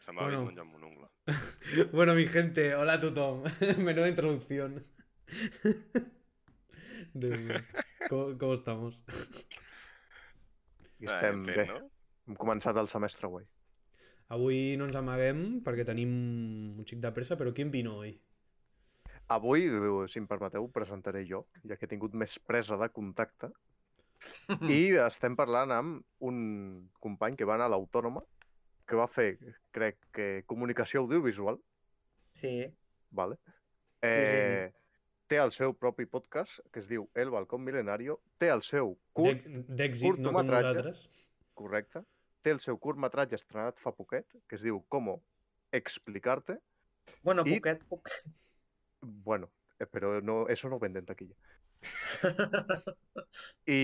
Se me ha Bueno. un monungla. Bueno, mi gente, hola Tutón. Menuda introducción. Dios mío. ¿Cómo, cómo estamos? Eh, I Ah, estem bé. Hem començat el semestre guai. Avui no ens amaguem perquè tenim un xic de pressa, però quin vino avui? Avui, si em permeteu, presentaré jo, ja que he tingut més presa de contacte. I estem parlant amb un company que va anar a l'Autònoma, que va fer, crec que, comunicació audiovisual, Sí, vale? sí, sí. Eh, té el seu propi podcast, que es diu El Balcón Milenario, té el seu curt, D'èx- D'èxit, no com curtmetratge. nosaltres. correcte, té el seu curtmetratge estrenat fa poquet, que es diu Como explicarte, bueno, I- poquet, poquet. Bueno, eh, pero no, eso no vende en taquilla. I,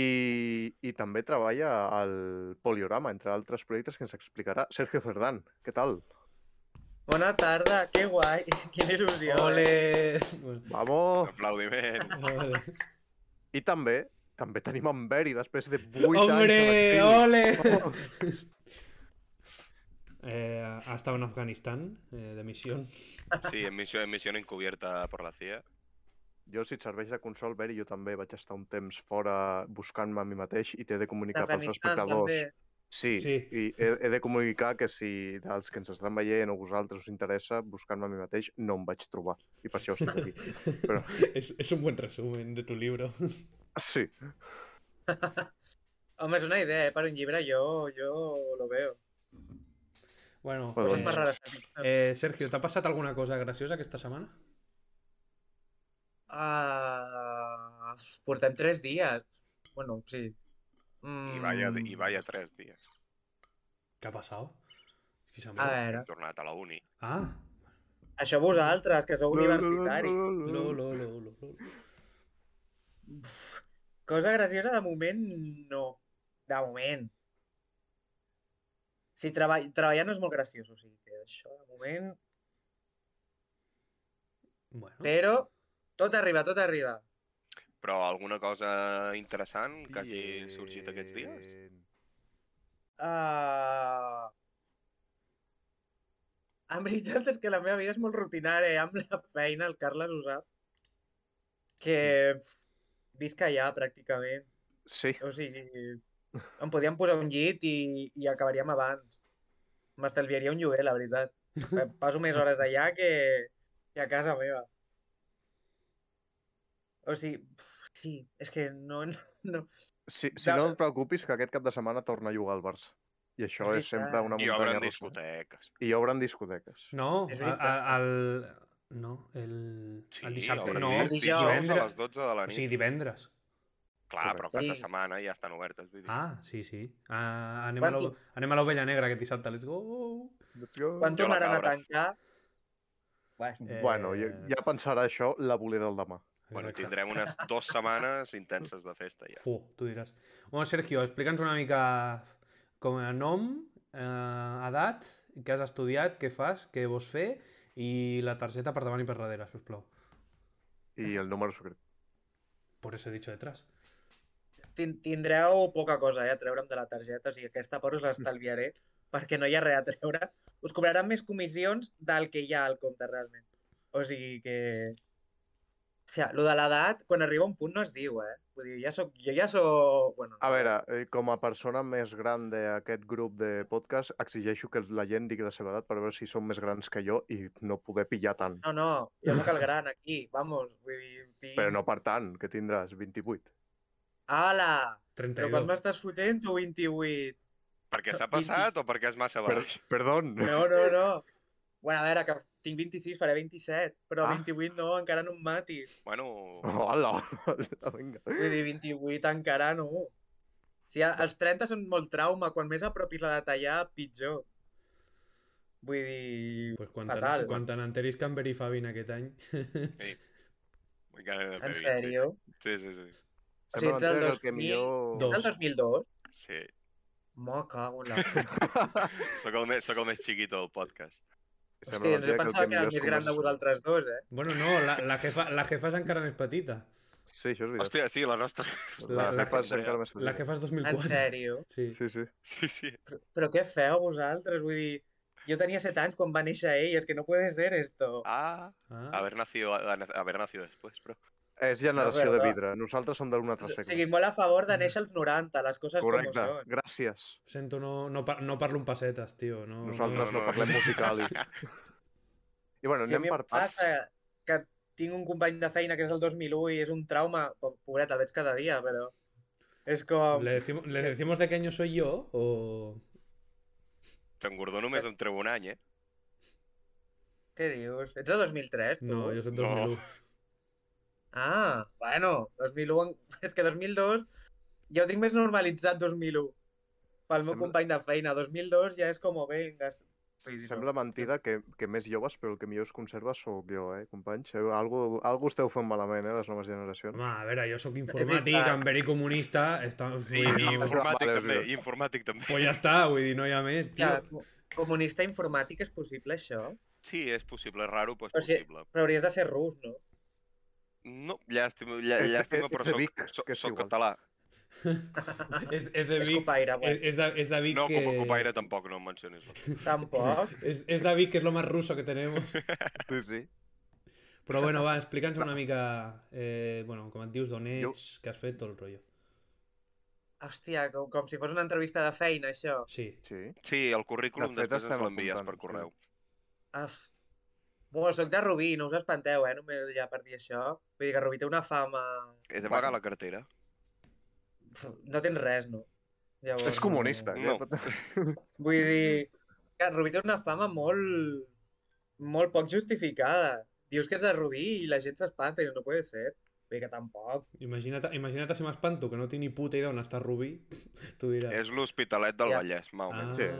I també treballa al Poliorama, entre altres projectes que ens explicarà Sergio Cerdán. Què tal? Bona tarda, que guai, quina il·lusió. eh? Ole! Bueno, Vamos! Aplaudiment. vale. I també també tenim en Beri, després de 8 ¡Hombre! anys ¡Ole! en exili. Eh, ha estado en Afganistán, eh, de misión. Sí, en misión, en misión encubierta por la CIA. Jo, si et serveix de consol, Beri, jo també vaig estar un temps fora buscant-me a mi mateix i t'he de comunicar pels L'Afganistan espectadors. també. Sí, Sí. i he, he de comunicar que si dels que ens estan veient o vosaltres us interessa, buscant-me a mi mateix, no em vaig trobar. I per això estic aquí. Però Es, es un buen resumen de tu libro. sí, Home, és una idea, eh? Per un llibre jo, jo lo veo. Bueno, Pues Coses eh, més rares. que em passen. eh, Sergio, ¿te ha pasado alguna cosa graciosa que esta semana? Ah, portem tres dies. Bueno, sí. Mm, Y vaya, y vaya tres días. ¿Qué ha pasado? Es que se me- A Hem veure, tornat a la uni. Ah, això vosaltres, que sou universitari. lo, lo, lo, lo, lo. Cosa graciosa, de moment, no. De moment. Sí, treball, treballar no és molt graciós, o sigui que això, de moment... Bueno, Però tot arriba, tot arriba. Però alguna cosa interessant que hagi sorgit aquests eh, dies? Uh... En veritat és que la meva vida és molt rutinària, eh? amb la feina, el Carles ho sap, que pf, visc allà pràcticament. Sí, O sigui, em podíem posar un llit i, i acabaríem abans. M'estalviaria un lloguer, la veritat. Pa- Passo més hores allà que, que a casa meva. O sigui, pf, sí, és que no, no, sí, si De- no et preocupis que aquest cap de setmana torna a jugar al Barça. I això És és sempre veritat. una I muntanya obren russa. discoteques. I obren discoteques. no, Es a- a- al... No, el... Sí, al dissabte, obren no. El dis- dijous. dijous a Divendres. les 12 de la O nit. sigui, divendres. Clar, però cap de Sí. setmana ja estan obertes. Vull dir. Ah, sí, sí. Ah, anem, a Quan l'O- tu- anem a l'Ovella Negra aquest dissabte. Let's go! Quan Jo la tornaran a cabra. tancar? Bueno, Bueno, ja, Eh, ja pensarà això la bolera del demà. Bueno, exacte. tindrem unes dues setmanes intenses de festa ja. Uh, tu diràs. Bueno, Sergio, explica'ns una mica com a nom, eh, edat, què has estudiat, què fas, què vols fer i la targeta per davant i per darrere, sisplau. I el número secret. Por eso he dicho detrás. tin- tindreu poca cosa eh, a treure'm de la targeta, o sigui, aquesta part us l'estalviaré, perquè no hi ha res a treure. Us cobraran més comissions del que hi ha al compte, realment. O sigui que... O sigui, lo de l'edat, quan arriba un punt no es diu, eh? Vull dir, ja soc, jo ja soc... Bueno, no, A veure, eh, com a persona més gran d'aquest grup de podcast, exigeixo que la gent digui la seva edat per veure si són més grans que jo i no poder pillar tant. No, no, jo sóc el gran aquí, vamos, vull dir... Tinc... Però no per tant, que tindràs 28. Ala! Però quan 32. m'estàs fotent, tu 28. Perquè s'ha Vint i- passat o perquè és massa Per baix? Perdón. No, no, no. Bueno, a veure, que tinc 26, faré 27, però Ah. 28 no, encara no em matis. Bueno, Hola, hola, vinga. Vull dir, 28 encara no. O sigui, els 30 són molt trauma. Quan més a propis la de tallar, pitjor. Vull dir... Pues quan fatal. tan, quan tan enteris que en Beri Fabin aquest any... encara he de fer En vint. sèrio? Sí, sí, sí. O sigui, ets el Sembla mentida que el que 2000, Dos. millor... El 2002? sí. Mo, cago en la... puta. Soc el, més, soc el més xiquito del podcast. Sembla Hòstia, doncs mentida jo pensava que era millor el més és gran de conversa- vosaltres dos, eh? Bueno, no, la, la, jefa, la jefa és encara més petita. Sí, això és veritat. Hòstia, sí, la nostra... La, la- jefa és la- encara més La jefa és En 2004. sèrio? Sí. Sí, sí. Sí, sí. Però què feu vosaltres? Vull dir... Yo tenía 7 anys quan va néixer ell, és que no puede ser esto. Ah, Ah. haber nacido, haber nacido después, bro. És generació de verdad. vidre. Nosaltres som d'un altre O segle. sigui, molt a favor de néixer als 90, les coses Correcte, com són. gràcies. Sento, no, no, par- no parlo en pessetes, tio. No, Nosaltres no, no no. parlem musical. I, I bueno, Si a anem mi em per parts. passa que tinc un company de feina que és del 2001 i és un trauma, po- pobret, el veig cada dia, però... És com... ¿Le decimos, ¿Le decimos de qué año soy yo? O... T'engordó només en treu un any, eh? Què dius? Ets de 2003, tu? No, yo soy No. 2001. Ah, bueno, 2001... en- És que 2002... Jo ho tinc més normalitzat 2001. Pel meu Sembla- company de feina. 2002 ja és com, venga... s- vull dir, no. Sembla mentida que, que més joves, però el que millor es conserva sóc jo, eh, companys? Eh, Algo, algo esteu fent malament, eh, les noves generacions. Home, a veure, jo sóc informàtic, veritat. em verí comunista, està... I, Vull i dir, no, informàtic Vale, també, és i informàtic també. pues ja està, vull dir, no hi ha més, tio. Ja, co- comunista informàtic és possible, això? Sí, és possible, és raro, però és O sigui- possible. Però hauries de ser rus, no? No, llàstima, llà, És de- llàstima, és però de soc, Vic, soc, que és soc igual. català. És, és de És Vic, copaire, és, bueno. és, de, és de Vic No que... ocupo Cupaire tampoc, no em mencionis. eh, Tampoc. És, és de Vic, que és lo más ruso que tenemos. Sí, sí. Però bueno, va, explica'ns una mica, eh, bueno, com et dius, d'on Jo- ets, què has fet, tot el rotllo. Hòstia, com, com si fos una entrevista de feina, això. Sí. sí. Sí, el currículum De fet, després ens estem l'envies per apuntant, sí. correu. Uf. Bueno, soc de Rubí, no us espanteu, eh? Només ja per dir això. Vull dir que Rubí té una fama... He d'amagar la cartera. Pf, No tens res, no? Llavors, És comunista. No. eh? no. Vull dir... Que Rubí té una fama molt... Molt poc justificada. Dius que és de Rubí i la gent s'espanta i diu, no puede ser. Vull dir que tampoc. Imagina't, imagina't si m'espanto, que no tinc ni puta idea on està Rubí. Tu diràs... És l'Hospitalet del Ja. Vallès, mau. Ah, sí.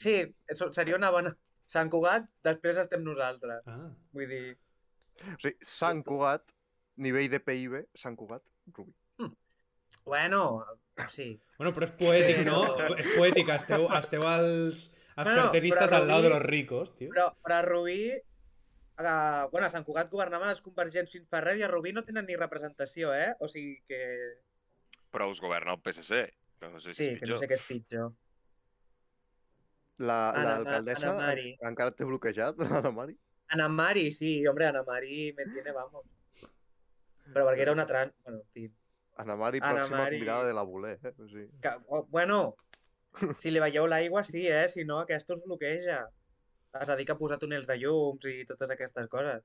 Sí, és- seria una bona... Sant Cugat, després estem nosaltres. ah. Vull dir... O sigui, Sant Cugat, nivell de PIB, Sant Cugat, Rubí. Bueno, sí. Bueno, però és poètic, no? Però- És poètic, esteu, esteu als, als Bueno, carteristes però al lado de Rubí- los ricos, tio. Però, però a Rubí... A, bueno, a Sant Cugat governaven els convergents fins fa res i a Rubí no tenen ni representació, eh? O sigui que... Però us governa el PSC. que No sé si Sí, és que no pitjor. sé què és pitjor. La- Ana Ma- L'alcaldessa Ana Mari. en- encara té bloquejat, l'Ana Mari. Ana Mari, sí, hombre, Ana Mari me tiene, vamos. Però perquè era una tran... Bueno, en fi. Ana Mari, Ana pròxima Mari. convidada de la Voler. Eh? O sigui, Que, o, bueno, si li veieu l'aigua, sí, eh? Si no, aquesta us bloqueja. És a dir, que ha posat túnels de llums i totes aquestes coses.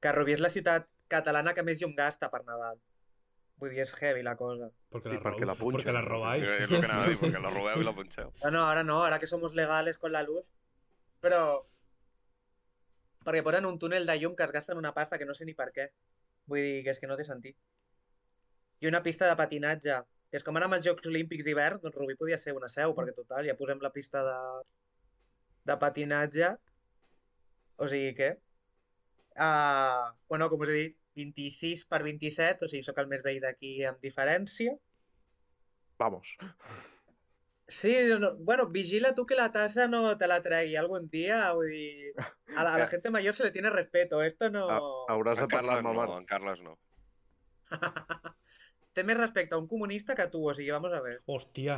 Que Rubí és la ciutat catalana que més llum gasta per Nadal. Vull dir, és heavy la cosa. Porque I la, perquè la punxen. porque la robáis. Eh, És el que anava a dir, perquè la robeu i la punxeu. No, no, ahora no, ahora que somos legales con la luz. Però... Perquè posen un túnel de llum que es gasten una pasta que no sé ni per què. Vull dir que és que no té sentit. I una pista de patinatge, que és com ara amb els Jocs Olímpics d'hivern, doncs Rubí podia ser una seu, perquè total, ja posem la pista de, de patinatge. O sigui que... Uh, bueno, com us he dit, 26 per 27, o sigui, sóc el més vell d'aquí amb diferència. vamos. Sí, no, bueno, vigila tú que la tasa no te la trae algún día. vull dir, a, la, a la gente mayor se le tiene respeto. Esto no. Hauràs de En parlar Carles amb ma no, mare. en Carles no. Té més respecte a un comunista que a tú, o sigui, vamos a ver. Hostia.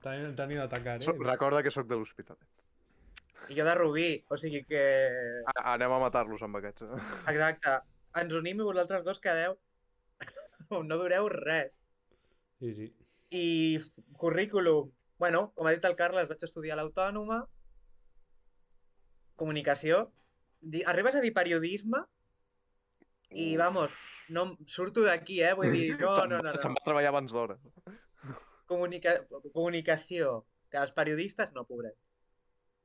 También te han ido a atacar, eh? So, recorda que sóc de l'hospital. I jo de Rubí, o sigui que... A- Anem a matar-los amb aquests. Eh? Exacte. Ens unim i vosaltres dos quedeu. No dureu res. Sí, sí. I f- currículum. Bueno, com ha dit el Carles, vaig estudiar a l'Autònoma. Comunicació. Di- Arribes a dir periodisme i, Uf, vamos, no em- surto d'aquí, eh? Vull dir, no, Se'n no, va- no. no. Se'n va treballar abans d'hora. comunica comunicació, que els periodistes no, pobret.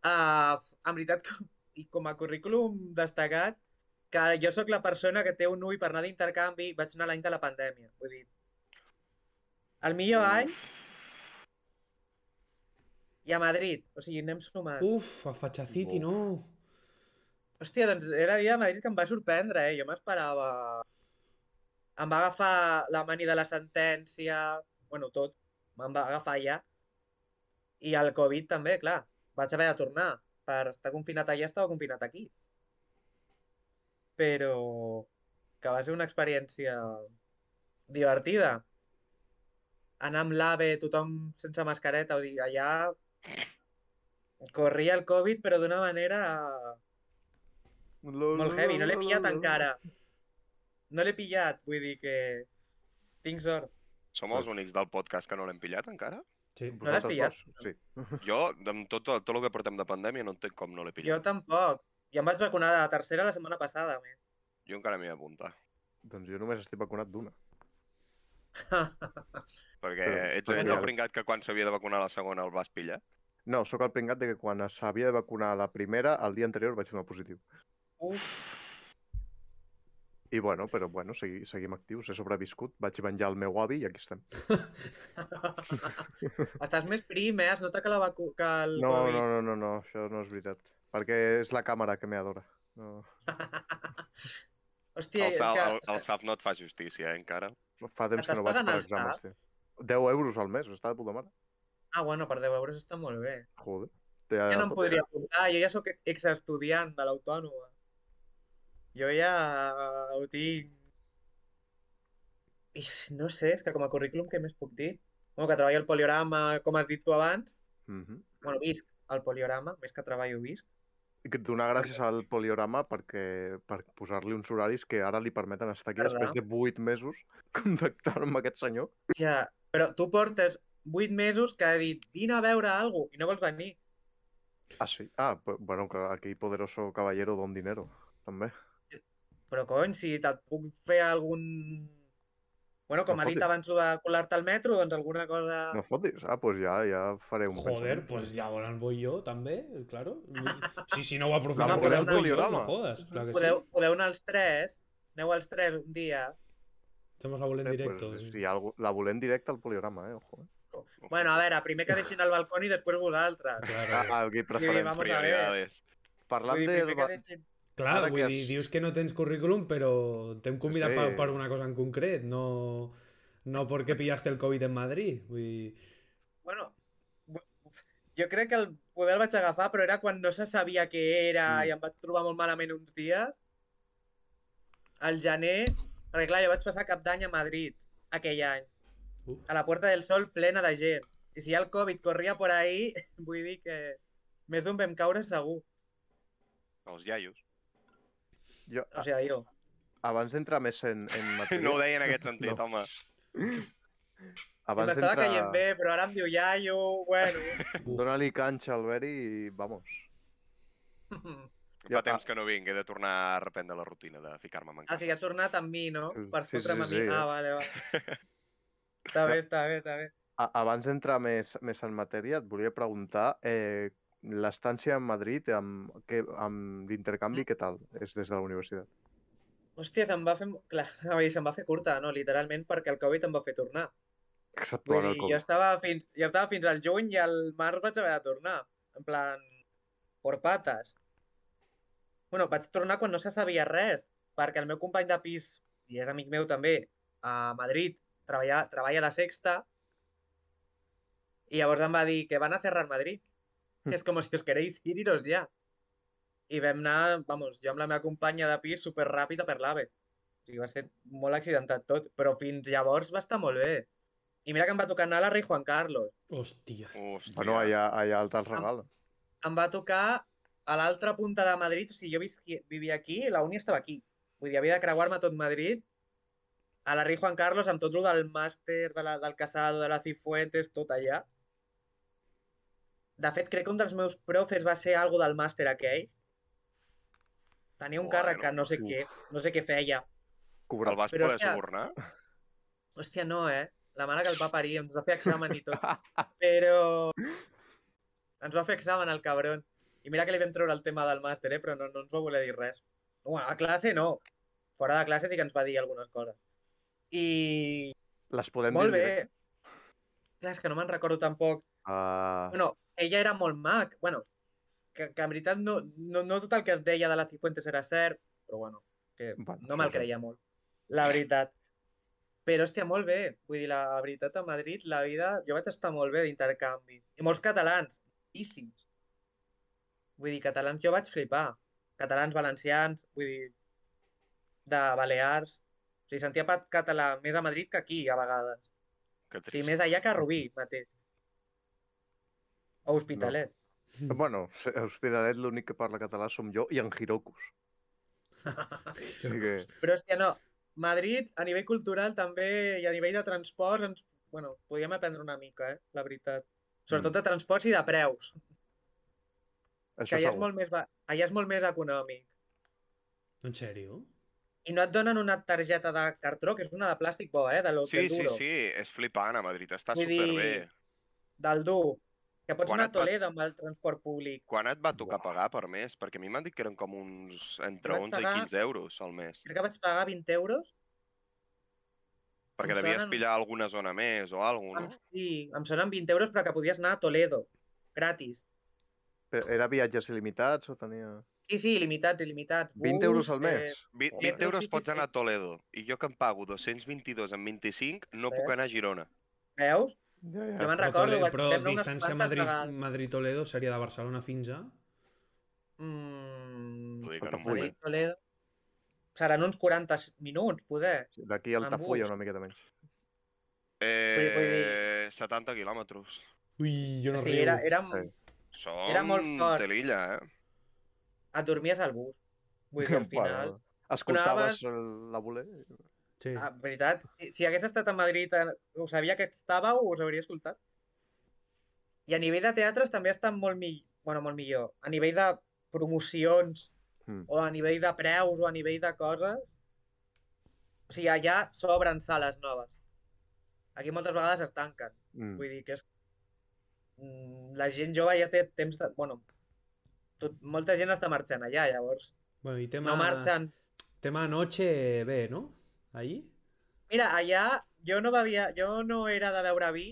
Uh, en veritat, com, i com a currículum destacat, que jo sóc la persona que té un ull per anar d'intercanvi, vaig anar l'any de la pandèmia, vull dir... El millor Uf. any i a Madrid, o sigui, anem sumant. Uf, a Fachaciti, no. Hòstia, doncs era dia a Madrid que em va sorprendre, eh? Jo m'esperava... Em va agafar la mani de la sentència, bueno, tot. Me'n va agafar allà. I el Covid també, clar. Vaig haver de tornar. Per estar confinat allà estava confinat aquí. Però que va ser una experiència divertida. Anar amb l'AVE, tothom sense mascareta, vull dir, allà corria el Covid, però d'una manera molt heavy. No l'he pillat encara. No l'he pillat, vull dir que... Tinc sort. Som els únics del podcast que no l'hem pillat encara? Sí. No l'has pillat? Sí. Jo, amb tot, tot el que portem de pandèmia, no entenc com no l'he Jo pillat. tampoc. I em vaig vacunar de la tercera la setmana passada, men. Jo encara m'hi he apuntat. Doncs jo només estic vacunat d'una. eh? Perquè Però- ets, ets Bueno. el pringat que quan s'havia de vacunar la segona el vas pillar. No, sóc el pringat de que quan s'havia de vacunar la primera, el dia anterior vaig donar positiu. Uf, I bueno, però bueno, segui, seguim actius, he sobreviscut, vaig venjar el meu avi i aquí estem. estàs més prim, eh? Es nota que, la vacu... que el No, Covid... no, no, no, no, això no és veritat. Perquè és la càmera que m'adora. No. Hòstia, el, és sal, que... el, el SAF no et fa justícia, eh, encara. Fa temps que Estàs no vaig pagant per el SAP? exàmens, tio. 10 euros al mes, està de puta mare. Ah, bueno, per 10 euros està molt bé. Joder. Ja no em podria apuntar, jo ja sóc exestudiant de l'autònoma. Jo ja eh, ho tinc... I no sé, és que com a currículum què més puc dir? Bueno, que treballo al Poliorama, com has dit tu abans. Mm -hmm. Bueno, visc al Poliorama, més que treballo visc. Donar gràcies al Poliorama perquè, per posar-li uns horaris que ara li permeten estar aquí Verdad. després de 8 mesos contactar amb aquest senyor. Ja, però tu portes 8 mesos que he dit vine a veure alguna cosa i no vols venir. Ah, sí? Ah, pe- bueno, que aquí Poderoso Caballero don dinero, també. Però cony, si te't puc fer algun... Bueno, com No ha dit fotis. abans lo de colar-te al metro, doncs alguna cosa... No fotis? Ah, doncs ja, ja faré un Joder, pensament. pues llavors voy yo també, claro. Si, si no ho No, aprofitava, podeu pues voy jo, poliorama. no jodes. Clar que podeu, sí. podeu anar els tres, aneu els tres un dia. Hacemos la bola en Eh, directo. pues, sí. si hi ha algú... La volem directa al Poliorama, eh? Ojo. eh. Bueno, a veure, primer que deixin el balcó i després vosaltres. Claro. Ah, aquí Sí, preferent. vamos a ver. Prioridades. Parlant Vull dir, del... primer que ba- deixin- Clar, Ara vull que dir, has- dius que no tens currículum, però t'hem convidat sé. per, per una cosa en concret, no, no perquè pillaste el Covid en Madrid. Vull dir, Bueno, bu- jo crec que el poder el vaig agafar, però era quan no se sabia què era Mm. i em vaig trobar molt malament uns dies. Al gener, perquè clar, jo vaig passar cap d'any a Madrid aquell any, Uh. Uf. a la Puerta del Sol plena de gent. I si ja el Covid corria per ahí, vull dir que més d'un vam caure segur. Els iaios. Jo, O sigui, jo. abans d'entrar més en, en matèria... No ho deia en aquest sentit, No. home. abans M'estava d'entrar... caient bé, però ara em diu iaio, bueno... Dóna-li canxa al Beri i vamos. Fa Ja, temps que no vinc, he de tornar a reprendre la rutina de ficar-me amb Ah, o sigui, ha tornat amb mi, no? Sí, Per sí, fotre'm sí, a mi. sí, Ah, eh? vale, vale. Està bé, està bé, està bé. A, abans d'entrar més, més en matèria, et volia preguntar eh, l'estància en Madrid amb, que, amb Mm. l'intercanvi, què tal és des de la universitat? Hòstia, se'm va fer... Clar, a veure, se'm va fer curta, no? Literalment, perquè el Covid em va fer tornar. Vull Exceptuant dir, el jo Covid. estava, fins, jo estava fins al juny i al març vaig haver de tornar. En plan, por patas. Bueno, vaig tornar quan no se sabia res, perquè el meu company de pis, i és amic meu també, a Madrid, treballa, treballa a la Sexta, i llavors em va dir que van a cerrar Madrid, que és com si us queréis iros ja. I vam anar, vamos, jo amb la meva companya de pis superràpida per l'AVE. O sigui, va ser molt accidentat tot, però fins llavors va estar molt bé. I mira que em va tocar anar a la Rei Juan Carlos. hòstia. Hòstia. Bueno, allà, allà el Ah. te'l regala. em va tocar a l'altra punta de Madrid, o sigui, jo visqui, vivia aquí i la uni estava aquí. Vull dir, havia de creuar-me tot Madrid, a la Rei Juan Carlos, amb tot lo del màster, de la, del Casado, de la Cifuentes, tot allà. De fet, crec que un dels meus profes va ser algo del màster aquell. Tenia un càrrec que no sé Bueno, què, no sé què feia. El Cobrat. vas Però, poder hòstia. subornar? Hòstia, no, eh? La mare que el va parir, ens va fer examen i tot. Però... Ens va fer examen, el cabron. I mira que li vam treure el tema del màster, eh? Però no, no ens va voler dir res. Bueno, a classe no. Fora de classe sí que ens va dir algunes coses. I... Les podem Molt dir en bé. Clar, és que no me'n recordo tampoc. Ah, Bueno, ella era molt mac. Bueno, que, que en veritat no, no, no tot el que es deia de la Cifuentes era cert, però bueno, que Bueno, no me'l això és creia molt, la veritat. Però, hòstia, molt bé. Vull dir, la veritat, a Madrid, la vida... Jo vaig estar molt bé d'intercanvi. I molts catalans, moltíssims. Vull dir, catalans jo vaig flipar. Catalans, valencians, vull dir, de Balears. O sigui, sentia pa- català més a Madrid que aquí, a vegades. Que Sí, trist. més allà que a Rubí mateix. O Hospitalet. Bueno, a Hospitalet l'únic que parla català som jo i en Hirokus. O sigui que... Però, hòstia, no. Madrid, a nivell cultural també i a nivell de transports, ens... bueno, podíem aprendre una mica, eh? la veritat. Mm. Sobretot de transports i de preus, que Això allà segur. és, molt més, ba- allà és molt més econòmic. En sèrio? I no et donen una targeta de cartró, que és una de plàstic bo, eh? De lo, Sí, del sí, duro, sí, és flipant a Madrid, està Vull dir, superbé. del dur. Que pots Quan anar et a va- Toledo amb el transport públic. Quan et va tocar Buah. pagar per mes? Perquè a mi m'han dit que eren com uns entre Vaig 11 i pagar- 15 euros al mes. Crec que vaig pagar 20 euros. Perquè em devies sonen- pillar alguna zona més o alguna Em, sí, em sonen 20 euros, però que podies anar a Toledo, gratis. Però Era viatges il·limitats o tenia... Sí, sí, il·limitats, il·limitats. 20 euros eh, al mes? 20, Joder. 20 euros Sí, sí, pots sí. anar a Toledo i jo que em pago 222 amb 25 no Eh? puc anar a Girona. Veus? Ja, Jo ja. me'n recordo, Toledo- vaig però fer-ne unes distància quantes Madrid, vegades. Madrid-Toledo seria de Barcelona fins a... Mm, Vull dir que no em Full, vull. Altafulla. Madrid, Mm, Toledo. Seran uns 40 minuts, poder. D'aquí a Amb Altafulla bus. una miqueta menys. Vull- vull dir- Eh, 70 quilòmetres. Ui, jo no Sí, riu. era, era... Sí. Són Era molt fort. de l'illa, eh? Et dormies al bus. Vull dir, al final... Bueno, Escoltaves el- la voler? Sí. Ah, veritat, si- si hagués estat a Madrid, eh, ho sabia que estàveu, us hauria escoltat. I a nivell de teatres també està molt millor, bueno, molt millor. A nivell de promocions, Mm. o a nivell de preus, o a nivell de coses... O sigui, allà s'obren sales noves. Aquí moltes vegades es tanquen. Mm. Vull dir que és... Mm, La gent jove ja té temps de... Bueno, tot, molta gent està marxant allà, llavors. Bueno, i tema... No marxen Tema noche B, ¿no? Ahí. Mira, allà jo no bevia, jo no era de beure vi,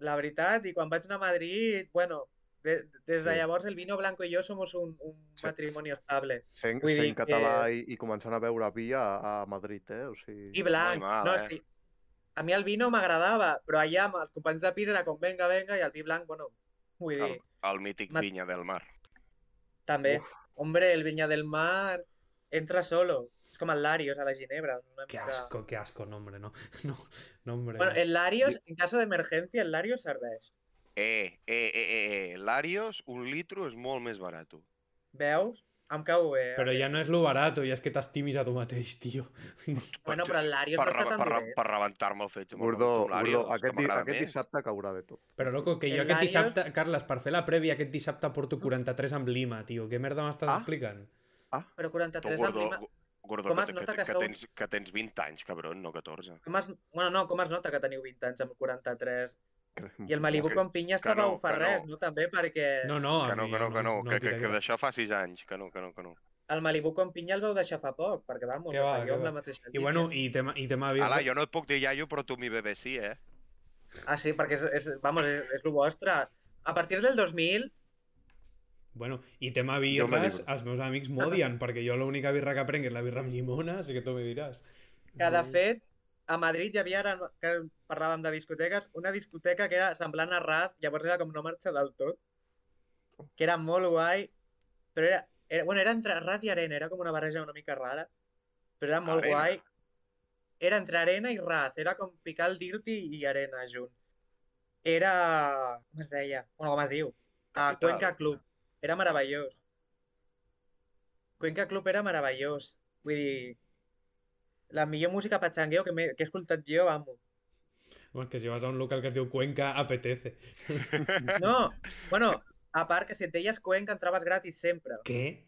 la veritat, i quan vaig anar a Madrid, bueno, de, des de Sí. llavors el vino blanco i jo somos un, un Sí. matrimoni estable. Sent, vull dir sent català que- i, i començant a veure vi a, a Madrid, eh? O sigui... I Molt blanc, mal, no, eh? és que a mi el vi no m'agradava, però allà amb els companys de pis era com venga, venga, i el vi blanc, bueno, vull dir, El, el mític Ma- Vinya del Mar. també, hombre, el vinya del mar entra solo, és com el Larios a la Ginebra, una Qué mica... asco, qué asco, nombre, no. No, nombre. Bueno, el Larios, en cas d'emergència, el Larios serveix. Eh, eh, eh, eh, eh. L'Arios, un litro és molt més barat. Veus? Em cau bé. eh? Pero ya no es lo barato, ya es que t'estimis a tu mateix, tio. Bueno, però el Larios Per, no està rebe- tan per, dolent. re- per rebentar-me el fetge. me'l Gordó, rebento amb l'Arios, Gordó, que aquest, di- m'agrada aquest més. dissabte caurà de tot. Però, loco, que jo El ¿Mm? aquest Larios- dissabte... Carles, per fer la prèvia aquest dissabte porto 43 amb Lima, tio. Què merda m'estàs Ah. explicant? Però Tu, 43 amb Gordó, Lima... Gu- Gordó com que, es te- nota que, que te- que, sou- tens, que tens 20 anys, cabron, no 14. Com es... Bueno, no, com es nota que teniu 20 anys amb 43? I el Malibu Que- com pinya que estava no, que farrés, no. no? També perquè No, no, a Que no, mi que no, jo que no, que, que, tira que d'això fa 6 anys. Que no, que no, que no. el Malibu com pinya el vau deixar fa poc, perquè vamos, Que o va, sigui, que jo amb va. la mateixa I línia. bueno, i tema, i tema birra... Ala, jo no et puc dir iaio, però tu mi bebé sí, eh? Ah, sí, perquè és, és, vamos, és, és lo vostre. A partir del 2000, Bueno, i tema Jo me birres, libro. els meus amics m'odien, perquè jo l'única birra que prenc és la birra amb llimona, així que tu me diràs. que de fet, a Madrid hi havia, ara que parlàvem de discoteques, una discoteca que era semblant a Raz, llavors era com no marxa del tot, que era molt guai, però era, era, bueno, era entre Raz i Arena, era com una barreja una mica rara, però era molt Arena. guai. Era entre Arena i Raz, era com ficar el Dirty i Arena junt. Era... com es deia? Bueno, com es diu? A Capital. Cuenca Club. Era meravellós. Cuenca Club era meravellós. Vull dir, la millor música patxangueo que, m'he- que he escoltat jo, amo. Bueno, és que si vas a un local que es diu Cuenca, apetece. No, bueno, a part que si et deies Cuenca entraves gratis sempre. Què?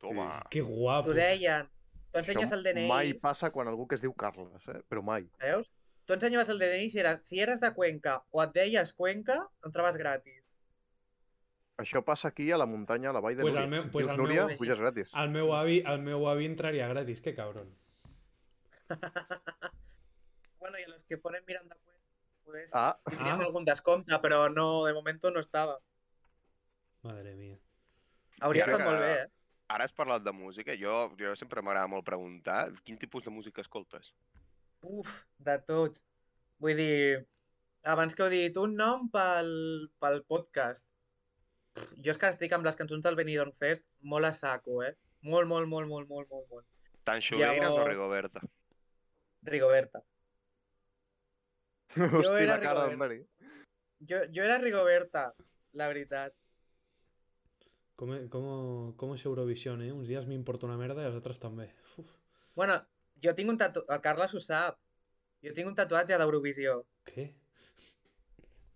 Toma. Que guapo. T'ho deien. Tu ensenyes el DNI, Mai passa quan algú que es diu Carles, eh? Però mai. veus? Tu ensenyaves el DNI si eres, si eres de Cuenca o et deies Cuenca, entraves gratis. Això passa aquí a la muntanya, a la vall de Pues Núria. al meu- Si et pues dius al meu- Núria, puges gratis. El meu avi, el meu avi entraria gratis, que cabron. Bueno, i a los que ponen mirant de Cuenca, poder ah. Ah, tindríem Ah. algun descompte, però no, de moment no estava. Madre mía. Hauria I ara estat que- molt bé, eh? Ara has parlat de música. Jo, jo sempre m'agrada molt preguntar quin tipus de música escoltes. eh? Uf, de tot. Vull dir, abans que heu dit un nom pel, pel podcast. Pff, Jo és que estic amb les cançons del Benidorm Fest molt a saco, eh? Molt, molt, molt, molt, molt, molt, molt. Tant Xugueines o Llavors- Rigoberta? Rigoberta. hosti, era la cara Rigoberta. d'en Meri. Jo, jo era Rigoberta, la veritat. Com, com, com és Eurovisió, eh? Uns dies m'importa una merda i els altres també. Uf. Bueno, jo tinc un tatuatge... El Carles ho sap. Jo tinc un tatuatge d'Eurovisió. Què?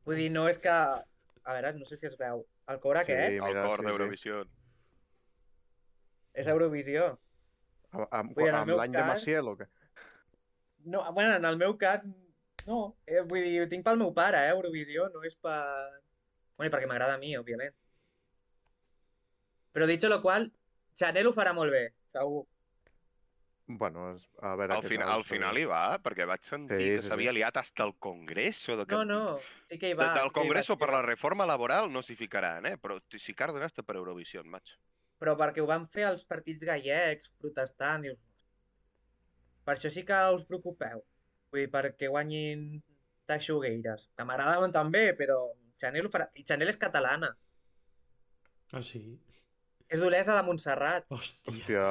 Vull dir, no és que... A veure, no sé si es veu. El coure sí. aquest El mira, cor sí, sí. d'Eurovisió. és Eurovisió. Amb, amb, Vull dir, en el amb meu l'any de cas- Maciel o què? No, bueno, en el meu cas, no. Eh, vull dir, ho tinc pel meu pare, eh, Eurovisió, no és per... Bueno, i perquè m'agrada a mi, òbviament. Però, dicho lo qual, Chanel ho farà molt bé, segur. Bueno, és, a veure... Al, què fin, tal, al final hi va, perquè vaig sentir Sí, que sí, sí. s'havia liat hasta el Congreso. De que... No, no, sí que hi de- va. del sí que hi va, Congreso sí que hi per va. la reforma laboral no s'hi ficaran, eh? Però t- s'hi carden hasta per Eurovisió, macho. Però perquè ho van fer els partits gallecs, protestant, dius... Per això sí que us preocupeu. Vull dir, perquè guanyin Teixugueires, que m'agradaven també, però Chanel ho farà... I Chanel és catalana. Ah, sí? És d'Olesa de Montserrat. Hòstia. Hòstia...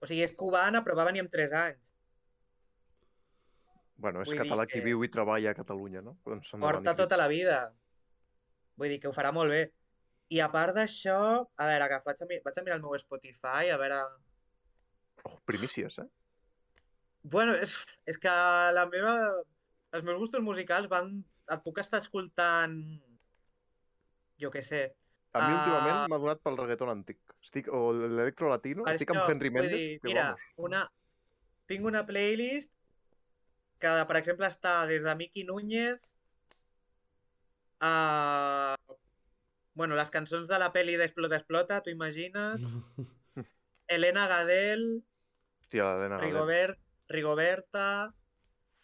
O sigui, és cubana, però va venir amb 3 anys. Bueno, és Vull dir català qui que- viu i treballa a Catalunya, no? Doncs Porta tota la vida. Vull dir que ho farà molt bé. I a part d'això, a veure, que faig a mi... vaig a mirar el meu Spotify, a veure... Oh, primícies, eh? Bueno, és, és que la meva... Els meus gustos musicals van... Et puc estar escoltant... Jo què sé. A mi Ah. últimament m'ha donat pel reggaeton antic. Estic, o l'electro latino, Per estic amb això, Henry vull Mendes, dir, que mira, vamos. una... Tinc una playlist que, per exemple, està des de Miki Núñez a... Bueno, les cançons de la pel·li d'Explota Explota, t'ho imagines? No. Elena Gadel, Hòstia, l'Helena Galet. Rigobert, Rigoberta,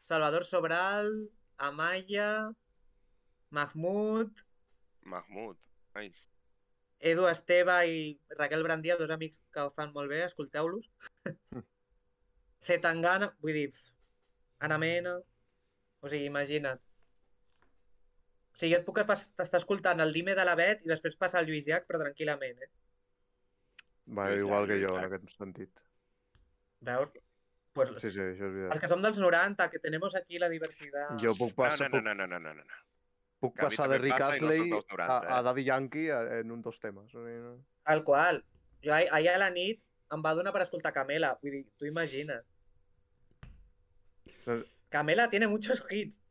Salvador Sobral, Amaya, Mahmoud, Mahmoud. Ai. Edu Esteve i Raquel Brandia, dos amics que ho fan molt bé, escolteu-los. C. Tangana, vull dir, Ana Mena... O sigui, imagina't. O sigui, jo et puc pas- estar escoltant el Dime de la Bet i després passar al Lluís Llach, però tranquil·lament, eh? Vale, Lluís igual que Llach, jo, en Lluís aquest sentit. Veus? Pues, Sí, sí, això és els veritat. que som dels 90, que tenemos aquí la diversitat... Jo puc passar, no, no, no, no, no, no, no. puc, puc que a mi passar també de em Rick passa i no Astley sóc dels 90, a, a eh. Daddy Yankee a- en un dos temes. O sigui, no- Tal qual. Jo ahir, ahir a la nit em va donar per escoltar Camela. Vull dir, tu imagina. Pues Però- Camela tiene muchos hits.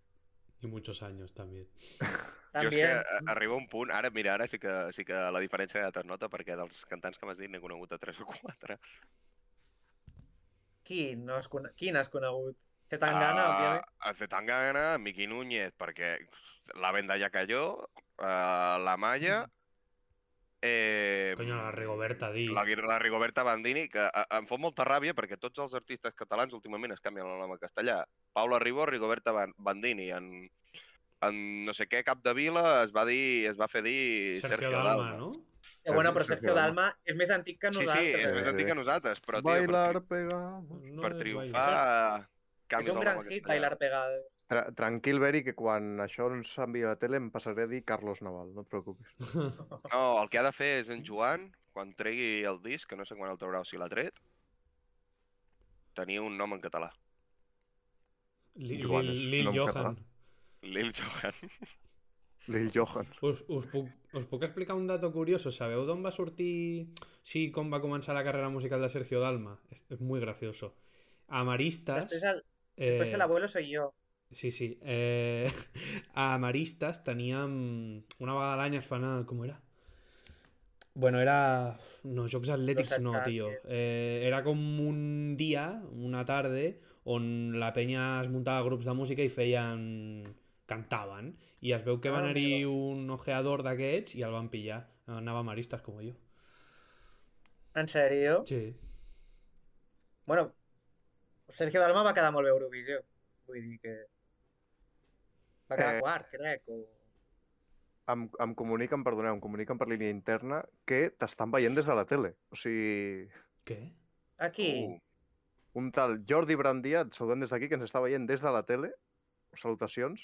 Y muchos años también. Jo és També. que a- arriba un punt, ara, mira, ara sí que, sí que la diferència ja es nota, perquè dels cantants que m'has dit n'he conegut a 3 o 4. Qui, no has cone... Quin has conegut? Se t'engana, uh... òbviament. Ah, Zetangana, Miqui Núñez, perquè la venda ja cayó, uh, la Malla... Mm. Eh, Coño, la Rigoberta, di. La, Gui- la Rigoberta Bandini, que a, em fa molta ràbia perquè tots els artistes catalans últimament es canvien el nom a castellà. Paula Ribó, Rigoberta Ban- Bandini, en, en no sé què, cap de vila, es va, dir, es va fer dir Sergio, Sergio, Dalma, Dalma. ¿no? Eh, bueno, però Sergio Sergio Dalma és més antic que Sí, sí, nosaltres. és més Sí, antic sí. que nosaltres, però tio, Bailar per, pegado. tri- No per es bailar. triomfar... És canvies un el gran nom a hit, castellà. Bailar Pegado. Tra tranquil, Beri, que quan això ens enviï a la tele em passaré a dir Carlos Naval, no et preocupis. No, el que ha de fer és en Joan, quan tregui el disc, que no sé quan el traurà o si l'ha tret, tenir un nom en català. Li- Igual Lil és Lil nom Johan. Lil Johan. Lil Johan. Us, us, puc, us puc explicar un dato curioso. Sabeu d'on va sortir... Sí, com va començar la carrera musical de Sergio Dalma? És, és muy gracioso. Amaristas... Després el, Eh. després el abuelo soy yo. Sí, sí. Eh, a Amaristas teníem... Una vegada a l'any es fan... A... Com era? Bueno, era... No, Jocs Atlètics Los no, ataques. tio. Eh, era com un dia, una tarda, on la penya es muntava grups de música i feien... cantaven. I es veu que va Ah, anar-hi un ojeador d'aquests i el van pillar. Anava a Amaristas, com jo. En sèrio? Sí. Bueno, Sergio Dalma va quedar molt bé a Eurovisió. Vull dir que... Va quedar Eh. quart, crec. O... Em, em comuniquen, perdoneu, em comuniquen per línia interna que t'estan veient des de la tele. O sigui, Què? Aquí. Uh, un tal Jordi Brandia, et saludem des d'aquí, que ens està veient des de la tele. Salutacions.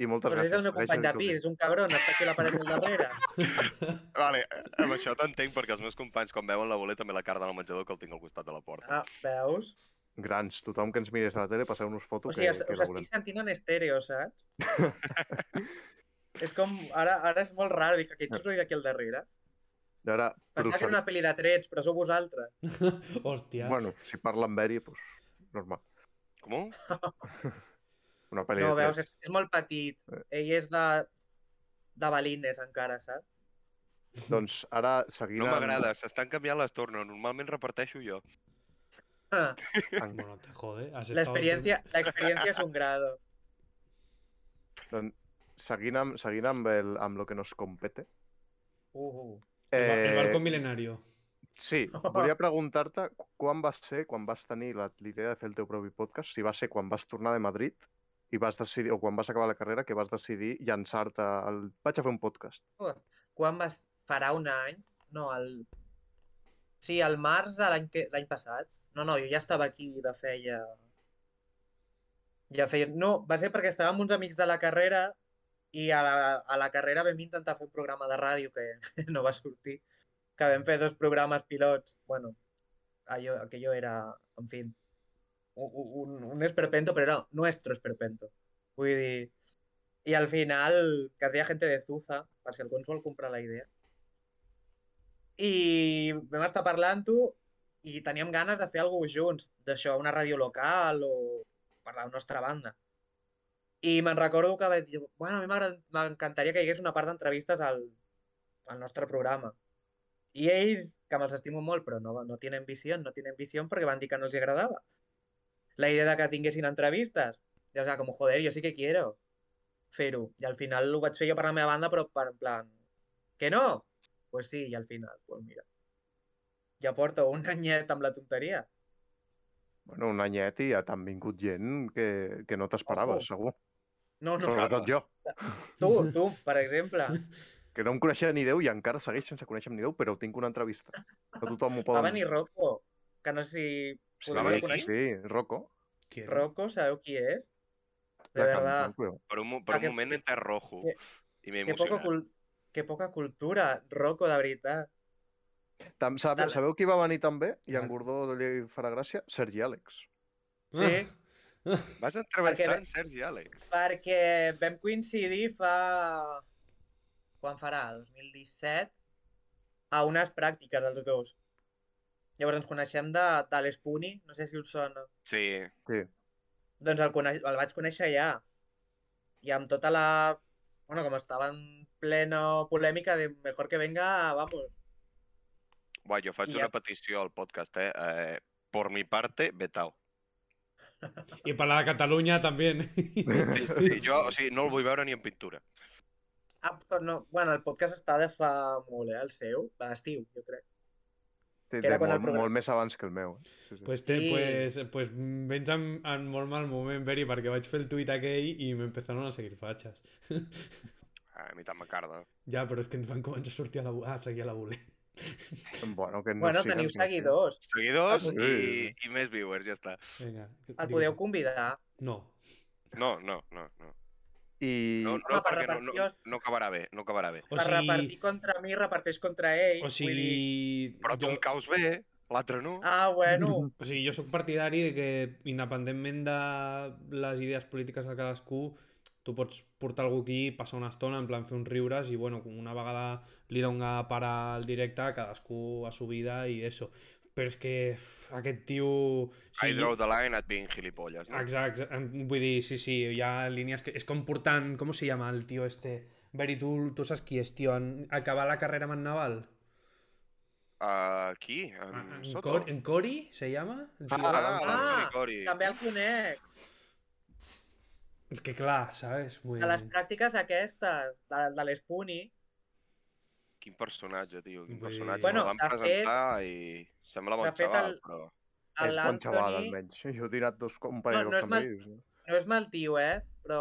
I moltes però és gràcies. el meu per company de aquest pis, micròfon. és un cabron, està aquí a la paret del darrere. vale, eh, amb això t'entenc perquè els meus companys quan veuen la boleta me la carden al menjador que el tinc al costat de la porta. Ah, veus? Grans, tothom que ens miri des de la tele, passeu-nos O fotos sigui, que, us, que us veurem. estic sentint en estèreo, saps? És com... Ara, ara és molt rar dir que aquest soroll d'aquí al darrere. I ara, Pensava que era una pel·li de trets, però sou vosaltres. Hòstia. Bueno, si parla amb Eri, doncs, normal. Com? Una pel·li No, de Eh. veus, tres. és, és molt petit. Ell és de, de balines encara, saps? Doncs ara, seguint No amb- m'agrada, s'estan canviant les tornes. Normalment reparteixo jo. Ah, en- Bueno, te jode. has estado- La experiencia, la experiencia es un grado. doncs, seguint amb, seguint amb, el, amb lo que nos compete. Uh, uh. El, ba- el eh, barco milenario. Sí, volia preguntar-te quan va ser, quan vas tenir la, la idea de fer el teu propi podcast, si va ser quan vas tornar de Madrid i vas decidir, o quan vas acabar la carrera, que vas decidir llançar-te al... Vaig a fer un podcast. Quan vas... Farà un any? No, el... Sí, al març de l'any que... l'any passat. No, no, jo ja estava aquí de feia... Ja feia... No, va ser perquè estàvem uns amics de la carrera i a la, a la carrera vam intentar fer un programa de ràdio que no va sortir, que vam fer dos programes pilots. Bueno, allò, aquello era, en fi, un, un, un esperpento, però era nuestro esperpento. Vull dir, I al final, que es deia Gente de Zuza, per si algú ens vol comprar la idea. I vam estar parlant-ho i teníem ganes de fer alguna cosa junts, d'això, una ràdio local o per la nostra banda. I me'n recordo que vaig dir, bueno, a mi m'agrad- m'encantaria que hi hagués una part d'entrevistes al, al nostre programa. I ells, que me'ls estimo molt, però no, no tenen visió, no tenen visió perquè van dir que no els hi agradava. La idea de que tinguessin entrevistes. I o sea, com, joder, jo sí que quiero fer-ho. I al final ho vaig fer jo per la meva banda, però per en plan... Que no? Pues sí, i al final, pues mira. Ja porto un anyet amb la tonteria. Bueno, un anyet i ja t'han vingut gent que, que no t'esperaves, Ojo. segur. No, no, Sobretot jo, tu, tu, per exemple. que no em coneixia ni Déu i encara segueix sense conèixer ni Déu, però tinc una entrevista. A tothom m'ho Va poden... venir Rocco, que no sé si... Sí, Va venir sí, qui? sí, Rocco. ¿Quién? Rocco, sabeu qui és? De la verdad. cantant, però. Per un, mo- per un que- moment enterrojo. que- I m'he Que poca, emocionat. cul... que poca cultura, Rocco, de veritat. Tam, sabe, Dale. sabeu qui va venir també? I Dale. en Gordó li farà gràcia? Sergi Àlex. Ah. Sí. Vas entrevistar Perquè- en Sergi Àlex. Perquè vam coincidir fa... Quan farà? 2017? A unes pràctiques, els dos. Llavors ens coneixem de, de l'Espuni, no sé si us sona. Sí, Doncs el, coneix, el vaig conèixer ja. I amb tota la... Bueno, com estava en plena polèmica, de mejor que venga, vamos. Buah, jo faig I ja una està. petició al podcast, eh? eh por mi parte, vetao. Y para la Cataluña también. Sí, sí, jo, o sigui, no el vull veure ni en pintura. Ah, però no. Bueno, el podcast està de fa molt, eh, el seu, de l'estiu, jo crec. Té, Que era té quan el molt, programa- molt més abans que el meu. Eh? Sí, sí. Pues, te, Sí. pues, pues mm, vens en, en molt mal moment, Beri, perquè vaig fer el tuit aquell i m'empezaron a seguir fatxes. Ah, a mi tant m'acarda. ja, però és que ens van començar a sortir a la, bu- a seguir a la bule. Bueno, que no eh. Bueno, siguen, teniu que no siguen. seguidors. Seguidors Sí. i, i més viewers, ja està. Vinga. El digues. Ah, podeu convidar. No. No, no, no, no. I No, no, Home, per perquè no, no, repartir-os. no acabarà bé, no acabarà bé. O per sigui... repartir contra mi, reparteix contra ell. O Vull dir... sigui... Però tu jo- em caus bé, l'altre no. Ah, bueno, O sigui, jo sóc partidari de que, independentment de les idees polítiques de cadascú, tu pots portar algú aquí, passar una estona, en plan fer uns riures i, bueno, com una vegada li dona para al directe, cadascú a su vida i eso. Però és que uf, aquest tio... I draw the line at being gilipolles, no? Exacte, em- vull dir, sí, sí, hi ha línies que... És com portant... Com se llama el tio este? Beri, tu, tu saps qui és, tio? En... Acabar la carrera amb en Naval? Uh, qui? En En, Soto? Cori, en Cori, se llama? El Ah, tio? ah, Ah, l'Anthony Cori. també el conec. És que clar, saps? Vull... A les dir- pràctiques aquestes, de, de l'Espuni, Quin personatge, tio, quin Vull dir- personatge. Bueno, Bueno, van de fet- presentar i sembla bon de fet, xaval, el- però... és bon xaval, l'Anthony... almenys. Jo he dinat dos, un parell no, No, no de és mal- famílies. No? No és mal tio, eh? Però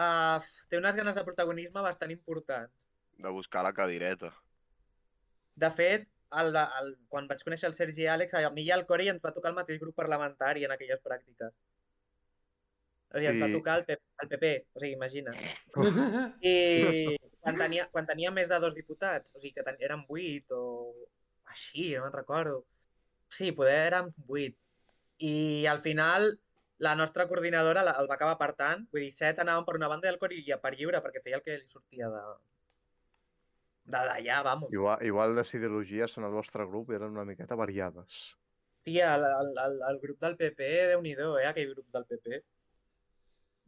uh, té unes ganes de protagonisme bastant importants. De buscar la cadireta. De fet, el, el, quan vaig conèixer el Sergi i Àlex, a mi i al Cori ens va tocar el mateix grup parlamentari en aquelles pràctiques. O sigui, ens va Sí. tocar el, P el PP, o sigui, imagina. I Eh, quan tenia, quan tenia més de dos diputats, o sigui, que ten, eren vuit o així, no me'n recordo. Sí, poder eren vuit. I al final la nostra coordinadora la, el va acabar apartant, vull dir, set anàvem per una banda i el Corilla per lliure, perquè feia el que li sortia de... de d'allà, vamos. Igual, igual les ideologies en el vostre grup eren una miqueta variades. Hòstia, el, el, el, el grup del PP, déu nhi eh, aquell grup del PP.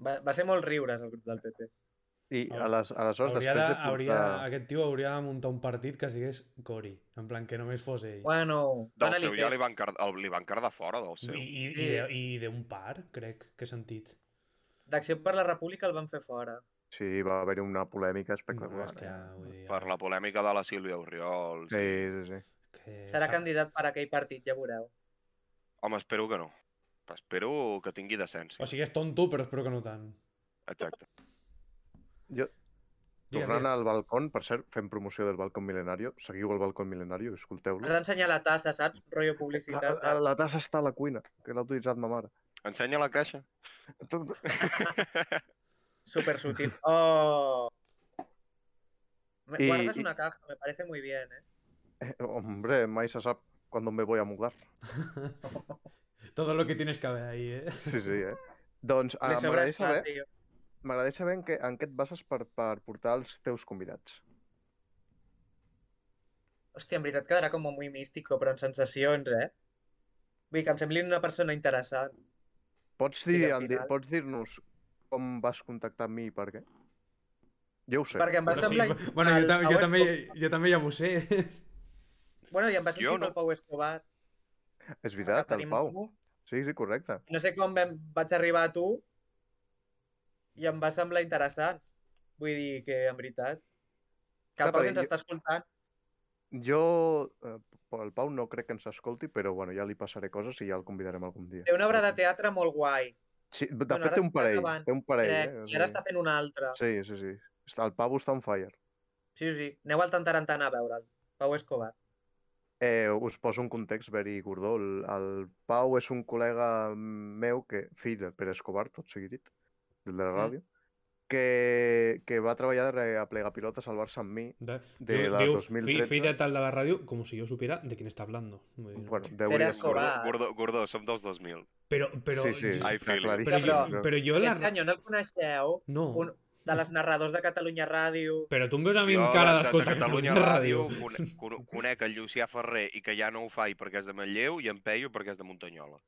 Va, va ser molt riures, el grup del PP. I ales- aleshores, Ah. Hauria de, després de, portar... hauria, aquest tio hauria de muntar un partit que sigués Cori, en plan que només fos ell. Bueno, Del bona seu nit, ja eh? li van, car el, li van cardar fora, del seu. I... I, i, i, Sí. de, i d'un par, crec, que he sentit. D'Acció per la República el van fer fora. Sí, va haver-hi una polèmica No, espectacular. és que, ah, vull dir, Per la polèmica de la Sílvia Oriol. eh? Sí, sí, sí. que Serà sap- candidat per aquell partit, ja veureu. Home, espero que no. Espero que tingui decència. O sigui, és tonto, però espero que no tant. Exacte. Digues, Tornant digues. al balcón, per cert, fem promoció del balcón mil·lenario. Seguiu el balcón mil·lenario, escolteu-lo. Has d'ensenyar la tassa, saps? Rollo La, publicitat. la, la tassa està a la cuina, que l'ha utilitzat ma mare. Ensenya la caixa. Tot- Súper sutil. Oh. Me- Y- Guardas y- una caja, me parece muy bien, ¿eh? Eh, Hombre, mai se sap quan me voy a mudar. Todo lo que tienes que ver ahí, eh? Sí, sí, eh? Doncs Le ah, sobra m'agradaria saber, espacio. m'agradaria saber en, què, en què et bases per, per portar els teus convidats. Hòstia, en veritat quedarà com muy místico, però en sensacions, eh? Vull dir que em semblin una persona interessant. Pots Sí, dir, que al en di- final- pots dir-nos com vas contactar amb mi i per què? Jo ho sé. Perquè em va Bueno, però sí, semblar- bu- bueno, jo, el- ta- el jo, West també, Coast. jo també ja m'ho sé. Bueno, i em va sentir Jo pel no. Pau Escobar, És que veritat, el tenim en Pau. comú. Sí, sí, correcte. No sé com vam, vaig arribar a tu i em va semblar interessant. Vull dir que, en veritat, que Clar, el Pau perquè ens jo- està escoltant. Jo, eh, per el Pau no crec que ens escolti, però bueno, ja li passaré coses i ja el convidarem algun dia. Té una obra de teatre molt guai. Sí, de Bueno, fet ara té un està parell, acabant, té un parell. crec, eh? o I ara sigui. està fent una altra. Sí, sí, sí. Està- El Pau està on fire. Sí, sí. Aneu al Tantarantana a veure'l. Pau Escobar. Eh, us poso un context very gordó. El, el Pau és un col·lega meu, que, fill de Pere Escobar, tot sigui dit, del de la Mm. ràdio, que, que va treballar de aplega pilotes al Barça amb mi, De, De la 2013. Fíjate tal de la radio, como si yo supiera de quién está hablando. Vull dir, bueno, no. deu Pere dies Gordó, Escobar. Gordó, Gordó, som dels 2000. Però, però, Sí, sí, Ai, jo- feel it. però, claríssim. jo, però jo la... Aquest senyor no el coneixeu? No, Un de les narradors de Catalunya Ràdio. però tu em veus a mi Jo, amb cara de- de, de d'escoltar Catalunya Ràdio, cone- cono- conec el Llucià Ferrer i que ja no ho fa i perquè és de Manlleu i en Peyu perquè és de Muntanyola.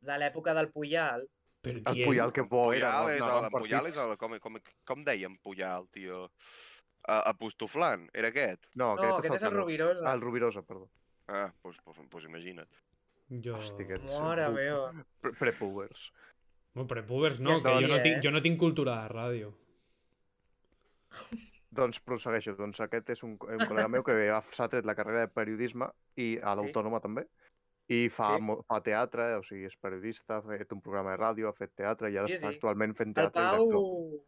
De l'època del Puyal. Però El qui Puyal, que bo era. Puyal és, el, anaven en Puyal és partits. el, com, com, com deia en Puyal, tio? Uh, apostoflant, era aquest? No, No, aquest és el Canut. Rovirosa. El Rovirosa, perdó. Ah, doncs pues, pues, pues, imagina't. Jo... Hosti, que- Mora Ui. meva. Pre- Prepubers. Bueno, prepubers no, Hòstia, que jo, sí, no eh? tinc, jo no tinc cultura de ràdio. Doncs prossegueixo. Doncs aquest és un, un col·lega meu que ha- s'ha tret la carrera de periodisme i a l'Autònoma també. I fa, Sí. mo- fa teatre, o sigui, és periodista, ha fet un programa de ràdio, ha fet teatre i ara Sí, està sí. actualment fent El teatre. i Pau... d'actor.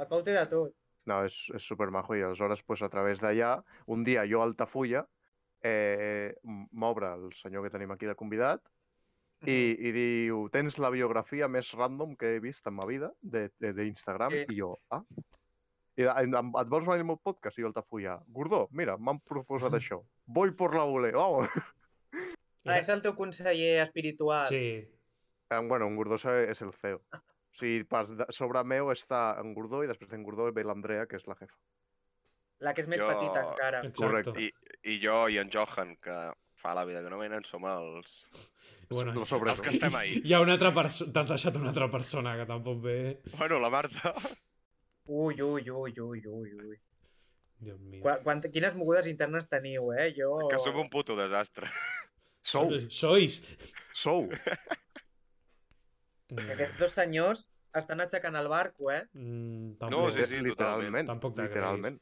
El Pau té de tot. No, és, és supermajo i aleshores pues, a través d'allà, un dia jo a Altafulla eh, m- m'obre el senyor que tenim aquí de convidat i, i diu, tens la biografia més random que he vist en ma vida d'Instagram, Sí. i jo, ah? I, em- em- et vols venir al meu podcast? I jo el tafulla, Gordó, mira, m'han proposat això. Voy por la bule, vamos. Ah, és el teu conseller espiritual. Sí. Em, Bueno, en Gordó se- és el CEO. O sigui, per de- sobre meu està en Gordó i després d'en Gordó ve l'Andrea, que és la jefa. La que és més Jo- petita encara. Exacto. Correcte. I, I jo i en Johan, que fa la vida que no venen, som els, Bueno, Lo sobre els que estem ahí. hi ha una altra persona... T'has deixat una altra persona que tampoc ve... eh. Bueno, la Marta... Ui, ui, ui, ui, ui, ui. Dios mío. Quan, quan, quines mogudes internes teniu, eh? Jo... Que Oh. som un puto desastre. Sou, Sois. sou. Que Aquests dos senyors estan aixecant el barco, eh? Mm, No, tampoc. sí, sí, literalment. Tampoc t'agraïs. literalment.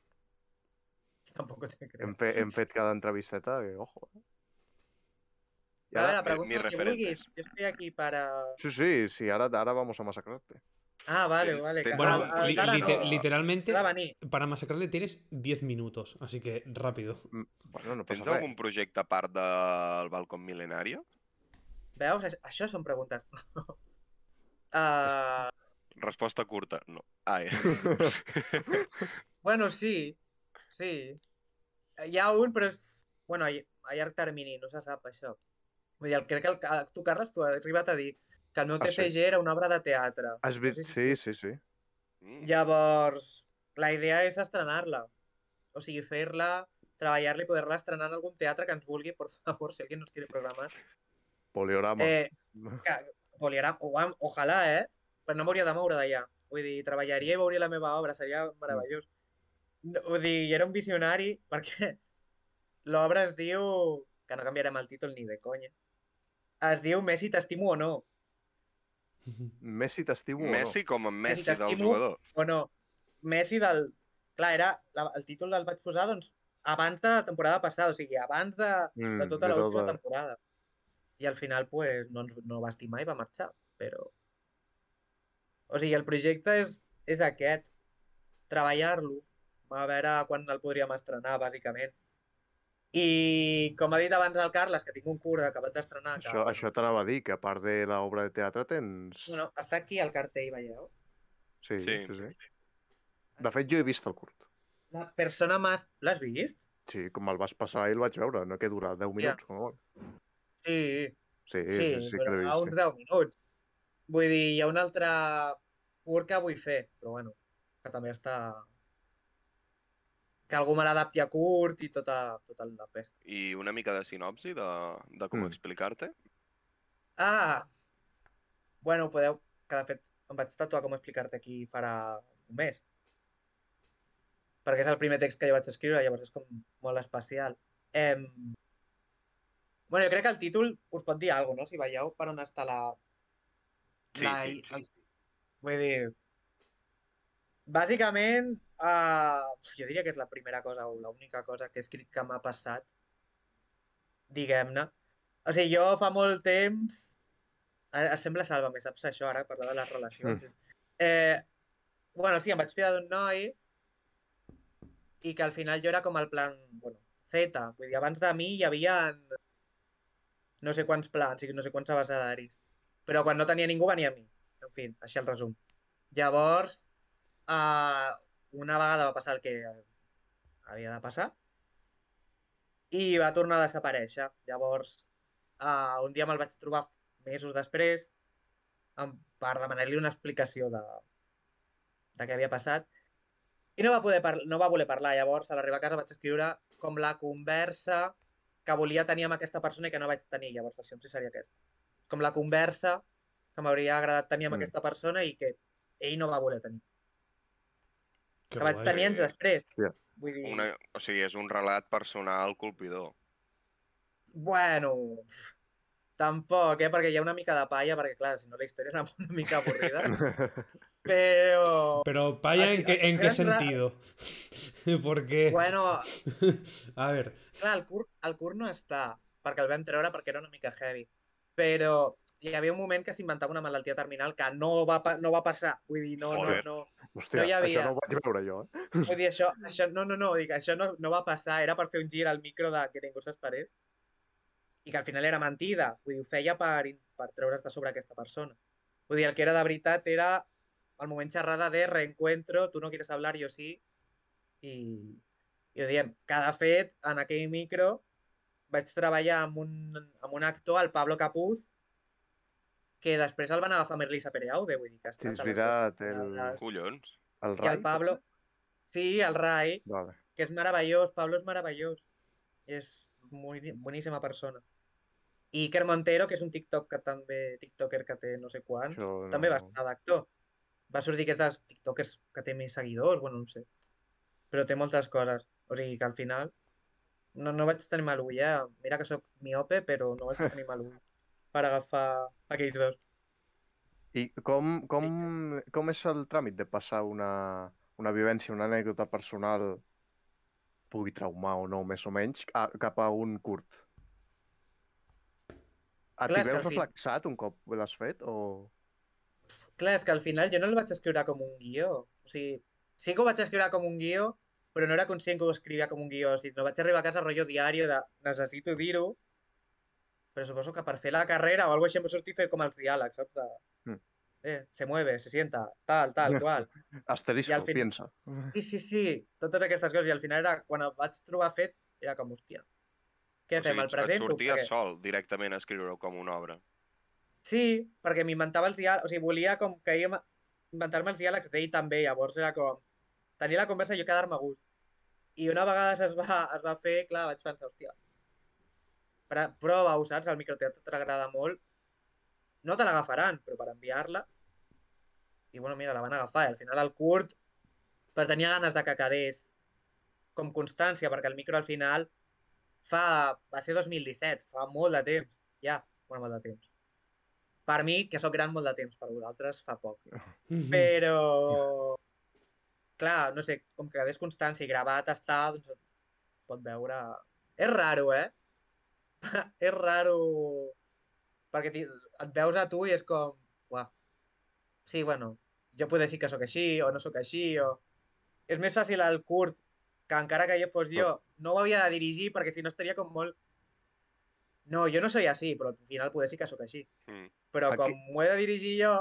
Tampoc te crec. Hem, fe, hem fet cada entrevisteta, que ojo. eh. I A ara- veure, mi- pregunta mis el que referentes. vulguis. Yo estoy aquí para... Sí, sí, sí, ara, ara vamos a masacrarte. Ah, vale, Ten- vale. ten- que- Bueno, ah, li- ara li- no, lite- no. literalmente, ha de venir. para masacrarle tienes 10 minutos, así que rápido. Mm, Bueno, no Tens passa res. algun projecte a part del Balcón Mil·lenari? Veus? Aix- Això són preguntes. Ah, Resposta curta, no. Ai. bueno, sí. Sí. Hi ha un, però... és- Bueno, a a llarg termini, no se sap això. Vull dir, el- crec que el, a- tu, Carles, tu has arribat a dir que el meu Ah, sí. TCG era una obra de teatre. Has vist... sí, Sí, sí, sí. Mm. Llavors, la idea és estrenar-la. O sigui, fer-la, treballar-la i poder-la estrenar en algun teatre que ens vulgui, por favor, si algú nos quiere programar. Poliorama. Eh, Poliarà, o, am- ojalà, eh? Però no m'hauria de moure d'allà. Vull dir, treballaria i veuria la meva obra, seria meravellós. No, vull dir, jo era un visionari perquè l'obra es diu... Que no canviarem el títol ni de conya. Es diu Messi, t'estimo o no. Messi t'estimo o no? Messi com en Messi Messi, del t'estimo. jugador. O no. Messi del... Clar, era... La, el títol el vaig posar, doncs, abans de la temporada passada, o sigui, abans de, Mm, de tota l'última tota- temporada. I al final, pues, no, ens, no va estimar i va marxar, però... O sigui, el projecte és, és aquest, treballar-lo, a veure quan el podríem estrenar, bàsicament. I, com ha dit abans el Carles, que tinc un curt acabat d'estrenar... que, Això, bueno, això t'anava a dir, que a part de l'obra de teatre tens... Bueno, està aquí el cartell, veieu? Sí, sí, Sí. sí. De fet, jo he vist el curt. La persona más... L'has vist? Sí, com el vas passar ahir el vaig veure, no que dura 10 minuts. No? Sí, Sí, sí, Sí, sí, sí que però l'he a uns vist. 10 minuts. Vull dir, hi ha un altre curt que vull fer, però bueno, que també està... Que algú me l'adapti a curt i tota, tota la pesca. I una mica de sinopsi de, de com Mm. explicar-te. Ah! Bueno, podeu... Que de fet em vaig tatuar com explicar-te aquí farà un mes. Perquè és el primer text que jo vaig escriure, llavors és com molt especial. Em... Bueno, jo crec que el títol us pot dir alguna cosa, no? Si veieu per on està la, Sí, la, sí. la- Vull dir... Bàsicament, eh, jo diria que és la primera cosa o l'única cosa que he escrit que m'ha passat, diguem-ne. O sigui, jo fa molt temps... Ara, Eh, sembla salva, més saps això ara, parlar de les relacions. Eh, bueno, sí, em vaig fiar d'un noi i que al final jo era com el plan, bueno, Z. Vull dir, abans de mi hi havia no sé quants plans i no sé quants abecedaris. Però quan no tenia ningú venia a mi. En fi, així el resum. Llavors, eh, una vegada va passar el que havia de passar i va tornar a desaparèixer. Llavors, eh, un dia me'l vaig trobar mesos després em- per demanar-li una explicació de, de què havia passat i no va, poder par- no va voler parlar. Llavors, a l'arribar a casa vaig escriure com la conversa que volia tenir amb aquesta persona i que no vaig tenir. Llavors, la sinopsi seria aquesta. Com la conversa que m'hauria agradat tenir amb Mm. aquesta persona i que ell no va voler tenir. Que que vaig guai. tenir anys després. Hòstia. Vull dir, Una, o sigui, és un relat personal colpidor. bueno, tampoc, eh? Perquè hi ha una mica de palla, perquè clar, si no la història era una mica avorrida. Però, Pero, ¿paya en Así- qué, en qué así es ra- sentido? Porque. bueno, A ver. clar, el curt, el curt no està, perquè el vam treure perquè era una mica heavy. Però hi havia un moment que s'inventava una malaltia terminal que no va, pa- no va passar. Vull dir, no, no, Joder. no. Hòstia, hi havia. això no ho vaig veure jo, eh? Vull dir, això, això no, no, no, dic, això no, no va passar, era per fer un gir al micro de que ningú s'esperés. I que al final era mentida, vull dir, ho feia per, in- per treure's de sobre aquesta persona. Vull dir, el que era de veritat era el moment xerrada de reencuentro, tu no quieres hablar, jo sí, i, i ho diem. Que de fet, en aquell micro vaig treballar amb un, amb un actor, el Pablo Capuz, que després el van agafar Merlisa Pereaude, vull dir que ha Sí, estat... és a les veritat, dues el, temporades. Collons. el I Rai. el Pablo... Sí, el Rai, Vale. que es maravilloso, Pablo es maravilloso. Es muy buenísima persona. I Iker Montero, que és un TikTok que també, TikToker que té no sé quants, Això també va no- estar d'actor. Va sortir que és dels TikTokers que té més seguidors, bueno, no sé. Però té moltes coses. O sigui, que al final no, no vaig tenir mal ull, eh? Mira que sóc miope, però no vaig tenir mal ull per agafar aquells dos. I com, com, com és el tràmit de passar una, una vivència, una anècdota personal, pugui traumar o no, més o menys, a, cap a un curt? Et Clar, Clar, és que veus al fi- reflexat un cop l'has fet? O... Clar, és que al final jo no el vaig escriure com un guió. O sigui, sí que ho vaig escriure com un guió, però no era conscient que ho escrivia com un guió. O sigui, no vaig arribar a casa rotllo diari de necessito dir-ho, però suposo que per fer la carrera o alguna cosa així em va sortir fer com els diàlegs, saps? De... Hmm. Mm. Eh, se mueve, se sienta, tal, tal, qual. I Asterisco, al fin- piensa. Sí, sí, sí, totes aquestes coses. I al final era, quan el vaig trobar fet, era com, hòstia, què O sigui, fem, et- el et presento? sortia Perquè- sol directament a escriure-ho com una obra. Sí, perquè m'inventava els diàlegs, o sigui, volia com que ell em- inventar-me els diàlegs d'ell també, llavors era com tenir la conversa i jo quedar-me a gust. I una vegada es va, es va fer, clar, vaig pensar, hòstia, pre- prova-ho, saps? El microteatre t'agrada molt. No te l'agafaran, però per enviar-la... I bueno, mira, la van agafar. I al final el curt, però tenia ganes de que quedés com constància, perquè el micro al final fa... va ser 2017, fa molt de temps, ja, bueno, molt de temps. Per mi, que sóc gran molt de temps, per vosaltres fa poc. Mm. Eh, Però... Clar, no sé, com que quedés constància i gravat està, doncs pot veure... És raro, eh? és raro... Perquè t'hi- et veus a tu i és com... Uah. Sí, bueno, jo puc dir que sóc així o no sóc així o... És més fàcil al curt que encara que jo fos jo, no ho havia de dirigir perquè si no estaria com molt... No, jo no soy així, però al final poder sí que sóc així. Mm. Però Aquí- com m'ho he de dirigir jo,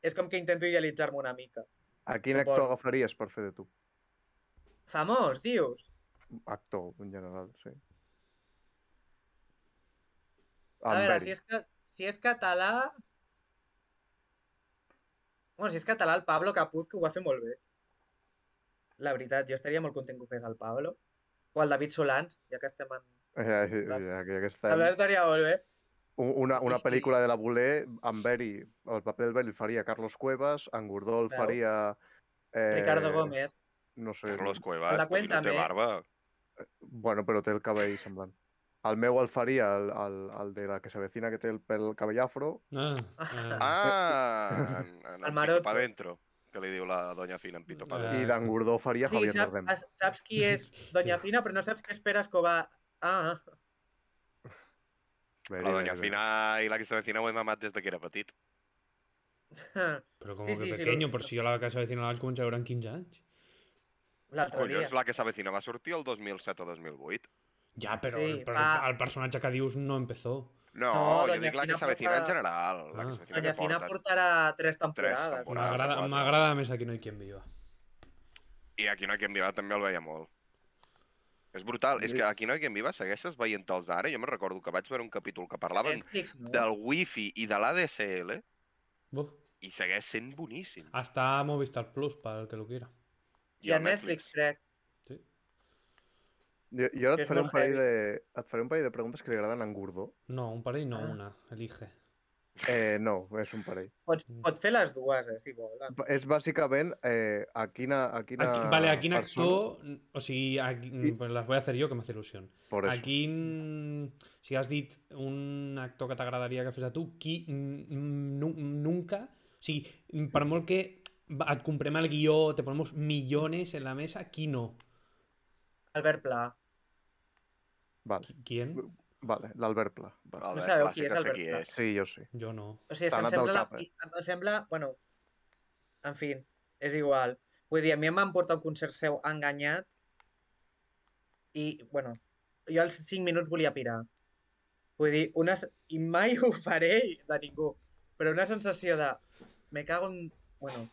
és com que intento idealitzar-me una mica. A quin actor Suposo. agafaries per fer de tu? Famós, dius? Actor, en general, sí. A En veure, Beri. si és, ca- si és català... Bueno, si és català, el Pablo Capuz, que ho va fer molt bé. La veritat, jo estaria molt content que ho fes el Pablo. O el David Solans, ja que estem en... Ja, ja, la- ja, ja que estem. També estaria molt bé. U- Una, una Sí, sí. pel·lícula de la Boler, en Beri, el paper del Beri el faria Carlos Cuevas, en Gordó el Veu? faria... Eh, Ricardo Gómez. No sé, Carlos Cuevas, La tot i no té Cuéntame. barba. bueno, però té el cabell semblant. El meu el faria el, el, el de la que s'avecina que té el, pel cabell afro, Ah, ah, Ah, en, en, El en Maroto. Pito pa dentro, que li diu la doña Fina en Pito pa Ah. i dentro. d'en Gordó faria Sí, Javier sap, Bardem. es- saps qui és Doña Sí. Fina, però no saps què espera Escobar. Ah, Beri, La doña Beri, Beri. Fina i la que s'avecina ho hem amat des de que era petit. pero como Sí, que sí, sí, lo- pequeño, por si yo la casa vecina la vaig començar a veure en 15 anys. l'altre dia. Collons, la que s'avecina va sortir el 2007 o 2008. Ja, però, Sí, però fa- el personatge que dius no empezó. No, No, jo Doña dic la que Fina s'avecina en porta- general. La que Ah. s'avecina Doña que Fina porta. portarà tres temporades. temporades. Temporades. M'agrada quatre. m'agrada més Aquí no hi quien viva. I Aquí no hi ha qui en viva també el veia molt. És brutal, és que Aquí no hi ha qui en viva segueixes veient-te'ls ara. Jo me'n recordo que vaig veure un capítol que parlaven Netflix, no? del wifi i de l'ADSL Buf. i segueix sent boníssim. Ah, Hasta Movistar Plus, para el que lo quiera. I a Netflix, crec. eh. Jo, jo ara et que és faré, un molt parell heavy. de, et faré un parell de preguntes que li agraden a en Gordó. No, un parell no, Ah. una. Elige. Eh, no, és un parell. Pot, pot fer les dues, eh, si vol. Ba- És bàsicament eh, a quina, a quina Aquí- vale, aquí en persona- actor... O sea, pues las voy a hacer yo, que me hace ilusión. Por eso. Aquí, mm, si has dit un actor que t'agradaria que fes a tu, qui mm, nu- nunca... O sigui, mm, per molt que va- et comprem el guió, te ponemos millones en la mesa, qui no? Albert Pla. Vale, ¿Quién? vale l'Albert Pla. Vale. Albert, sabeu clar, qui sí és que sé Albert qui Pla. és. Sí, jo sí. Yo no. O sigui, és S'ha que em anat del sembla, cap, eh. la, em, em sembla... Bueno, en fi, és igual. Vull dir, a mi em van portar un concert seu enganyat i, bueno, jo als 5 minuts volia pirar. Vull dir, una, s- i mai ho faré de ningú, però una sensació de... Me cago en... Bueno,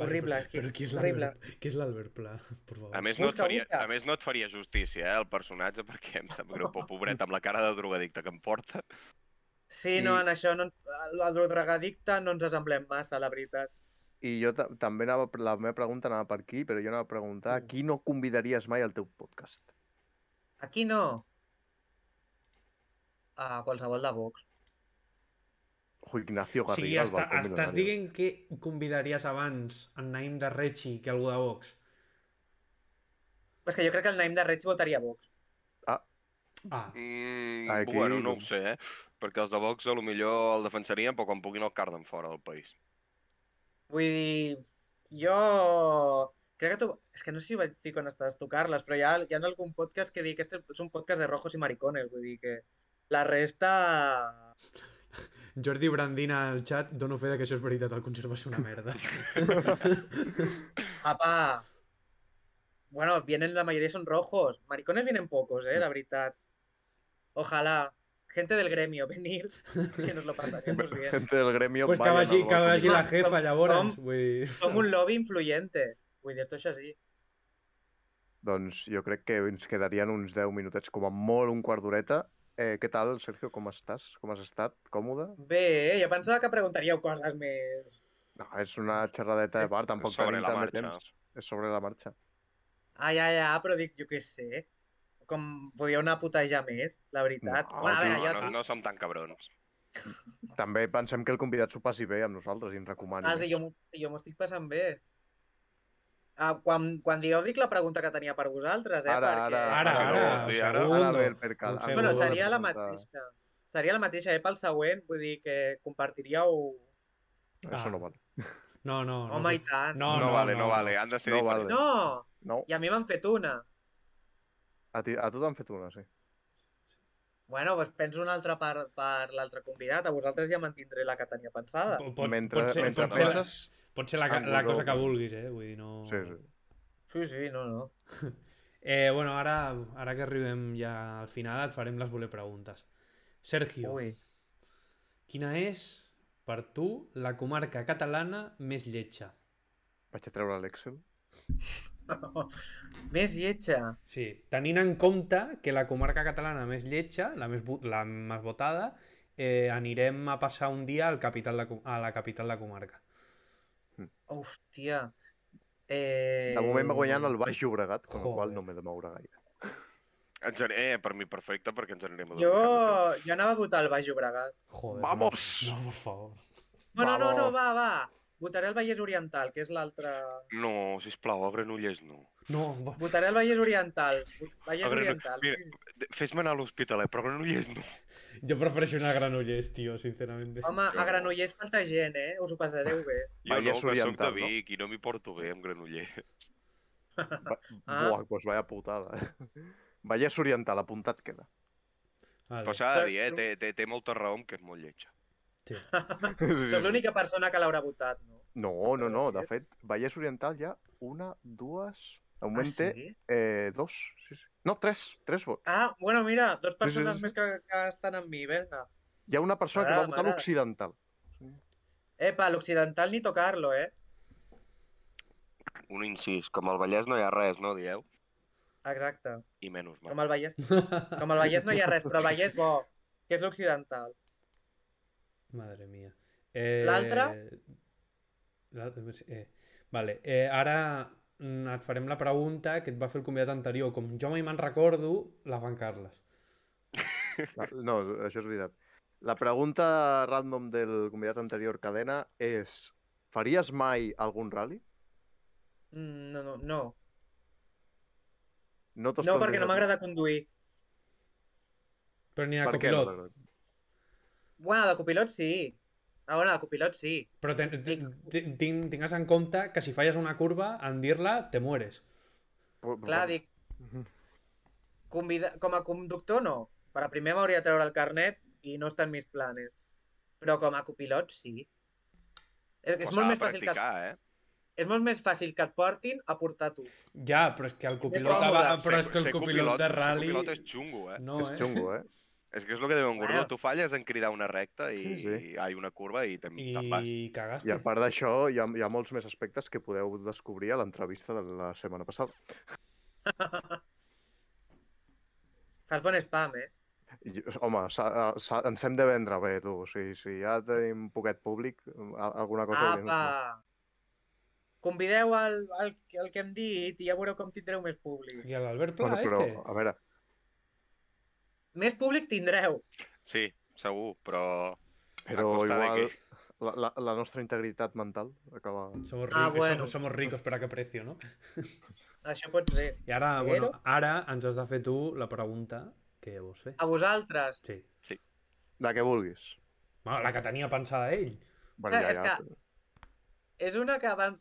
Horrible, es que Pero ¿quién es horrible. l'Albert- qui és l'Albert Pla? Por favor. A més, no et Busca, faria, busca. a més, no et faria justícia, eh, el personatge, perquè em sap greu, però pobret, amb la cara de drogadicte que em porta. sí, I- no, en això, no, ens- el drogadicte no ens assemblem massa, la veritat. I jo ta- també anava, la meva pregunta anava per aquí, però jo anava a preguntar Mm. qui no convidaries mai al teu podcast? Aquí no. A qualsevol de Vox. Jo, Ignacio O sigui, Garriga, el hasta, balcó hasta es milionari. diguen que convidaries abans en Naim de Rechi que algú de Vox. És que jo crec que el Naim de Reig votaria Vox. Ah, Mm, Aquí, bueno, no ho doncs. sé, eh? Perquè els de Vox a lo millor el defensarien, però quan puguin el carden fora del país. Vull dir, jo... Crec que tu... És que no sé si ho vaig dir quan estaves tu, Carles, però hi ha, hi ha algun podcast que dic que este és un podcast de rojos i maricones, vull dir que la resta... Jordi Brandina al chat, dono fe de que això és veritat, el conserva és una merda. Apa! Bueno, vienen, la mayoría son rojos. Maricones vienen pocos, eh, la verdad. Ojalá. Gente del gremio, venir, que nos lo pasaremos bien. Gente del gremio, pues que vayan vagi, al que balcó vagi la milionari. jefa, Som- llavors. som- Vull dir... Som un lobby influyente. Vull dir, tot això sí. Doncs jo crec que ens quedarien uns 10 minutets, com a molt un quart d'horeta, Eh, què tal, Sergio? Com estàs? Com has estat? Còmode? Bé, jo pensava eh, que preguntaríeu coses més... No, és una xerradeta de part, tampoc Sobre tenim la tant de marxa. temps. És sobre la marxa. Ah, ja, ja, però dic, jo què sé. Com podíeu anar a putejar més, la veritat. No, bueno, a veure, No, jo... no, no som tan cabrons. També pensem que el convidat s'ho passi bé amb nosaltres i ens recomani. Ah, sí, jo, m'ho- jo m'ho estic passant bé. Ah, quan, quan digueu dic la pregunta que tenia per vosaltres, eh? Ara, perquè... Ara, Ah, sí, no, ara, sí, un ara- Ara segundo. ve el percal. Un Ara segundo. Bueno, Segur. seria la Pregunta. mateixa. Seria la mateixa, eh, pel següent, vull dir que compartiríeu... Això Ah. no val. No, no, no. Home, i tant. No, No, no, vale, no, no, vale. no. Han de ser No diferents. vale. No! No, I a mi m'han fet una. a, ti, a tu t'han fet una, sí. Bueno, doncs penso una altra per, per l'altre convidat. A vosaltres ja mantindré la que tenia pensada. Po- pot- mentre pot ser- mentre pot ser la- penses... Pot ser la, ca- Algú la cosa loco. que vulguis, eh? Vull dir, no... Sí, sí. Sí, sí, no, no. Eh, bueno, ara, ara que arribem ja al final et farem les voler preguntes. Sergio, Ui. quina és, per tu, la comarca catalana més lletja? Vaig a treure l'Excel. Més lletja. Sí, tenint en compte que la comarca catalana més lletja, la més, vo- la més votada, eh, anirem a passar un dia al capital de, co- a la capital de comarca. Hòstia. Eh... De moment va guanyant el Baix Llobregat, amb el Joder. qual no m'he de moure gaire. Ens en- Eh, per mi perfecte, perquè ens anirem a dormir Jo, a casa teva. jo anava a votar el Baix Llobregat. Joder, Vamos! No, no, por favor. No, no, no, no, Vamos. va, va. Votaré el Vallès Oriental, que és l'altre... No, sisplau, a Granollers no. No, va- Votaré el Vallès Oriental. Vallès A veure, Oriental. mira, De- Fes-me anar a l'hospitalet, però a Granollers no. jo prefereixo anar a Granollers, tio, sincerament. Home, jo a no. Granollers falta gent, eh? Us ho passareu bé. Jo Vallès no, que soc de Oriental, no? Vic i no m'hi porto bé amb Granollers. Va, Ah. Buah, doncs vaya putada. eh? Vallès Oriental, apuntat queda. Vale. Però s'ha de Però- dir, eh? Té, té, té molta raó amb que és molt lletja. Sí, sí, Sóc sí. l'única persona que l'haurà votat, no? No, no, no. De fet, Vallès Oriental hi ha una, dues... De moment té Ah, sí? eh, dos. Sí, sí. No, tres. Tres vots. Ah, bueno, mira, dos sí, persones sí. més que, que estan amb mi, vinga. Hi ha una persona que va M'agrada, votar m'agrada. l'Occidental. Epa, l'occidental ni tocar-lo, eh? Un incís, com al Vallès no hi ha res, no, dieu? Exacte. I menys mal. Com el Vallès. Com el Vallès no hi ha res, però el Vallès bo, que és l'occidental. Madre mía. Eh, L'altra? l'altra, Eh, vale. Eh, ara mm, et farem la pregunta que et va fer el convidat anterior. Com jo mai me'n recordo, la fan Carles. La- No, això és veritat. La pregunta random del convidat anterior, Cadena, és... Faries mai algun rally? Mm, No, no, no. No, t'has No, perquè no plantejat- m'agrada conduir. Però ni de Per què no copilot. t'agrada? Bueno, de copilot sí. Ah, bueno, de copilot sí. Però ten, ten, ten, tin- tingues en compte que si falles una curva, en dir-la, te mueres. Però- però- Clar, dic, convida... com a conductor no. Per a primer m'hauria de treure el carnet i no està en mis planes. Però com a copilot sí. És, és, Cosa molt a més fàcil que, practicar, eh? és molt més fàcil que et portin a portar tu. Ja, però és que el copilot, còmode. va, però és Ser- que el ser copilot de ser rally... Ah. copilot és xungo, eh? No, és eh? xungo, eh? És que és el que diuen Gordó, Bueno. tu falles en cridar una recta i, Sí, sí. i ai, una curva i te'n I te vas. cagaste. I a part d'això, hi, ha, hi ha molts més aspectes que podeu descobrir a l'entrevista de la setmana passada. Fas bon spam, eh? I, home, s'ha- s'ha- ens hem de vendre bé, tu. O sigui, si ja tenim poquet públic, a- alguna Ah, cosa... hauríem de fer. Apa! Convideu el, el, el que hem dit i ja veureu com tindreu més públic. I a l'Albert Pla, Bueno, però, este. a veure, Més públic tindreu. Sí, segur, però... però costa de igual què? la, la, la nostra integritat mental acaba... Somos ricos, Ah, bueno. somos, somos ricos, però a que precio, no? Això pot ser. I ara, Però- bueno, ara ens has de fer tu la pregunta que vols fer. A vosaltres. Sí. La que vulguis. Bueno, la que tenia pensada ell. Bueno, Clar, Eh, és És una que van...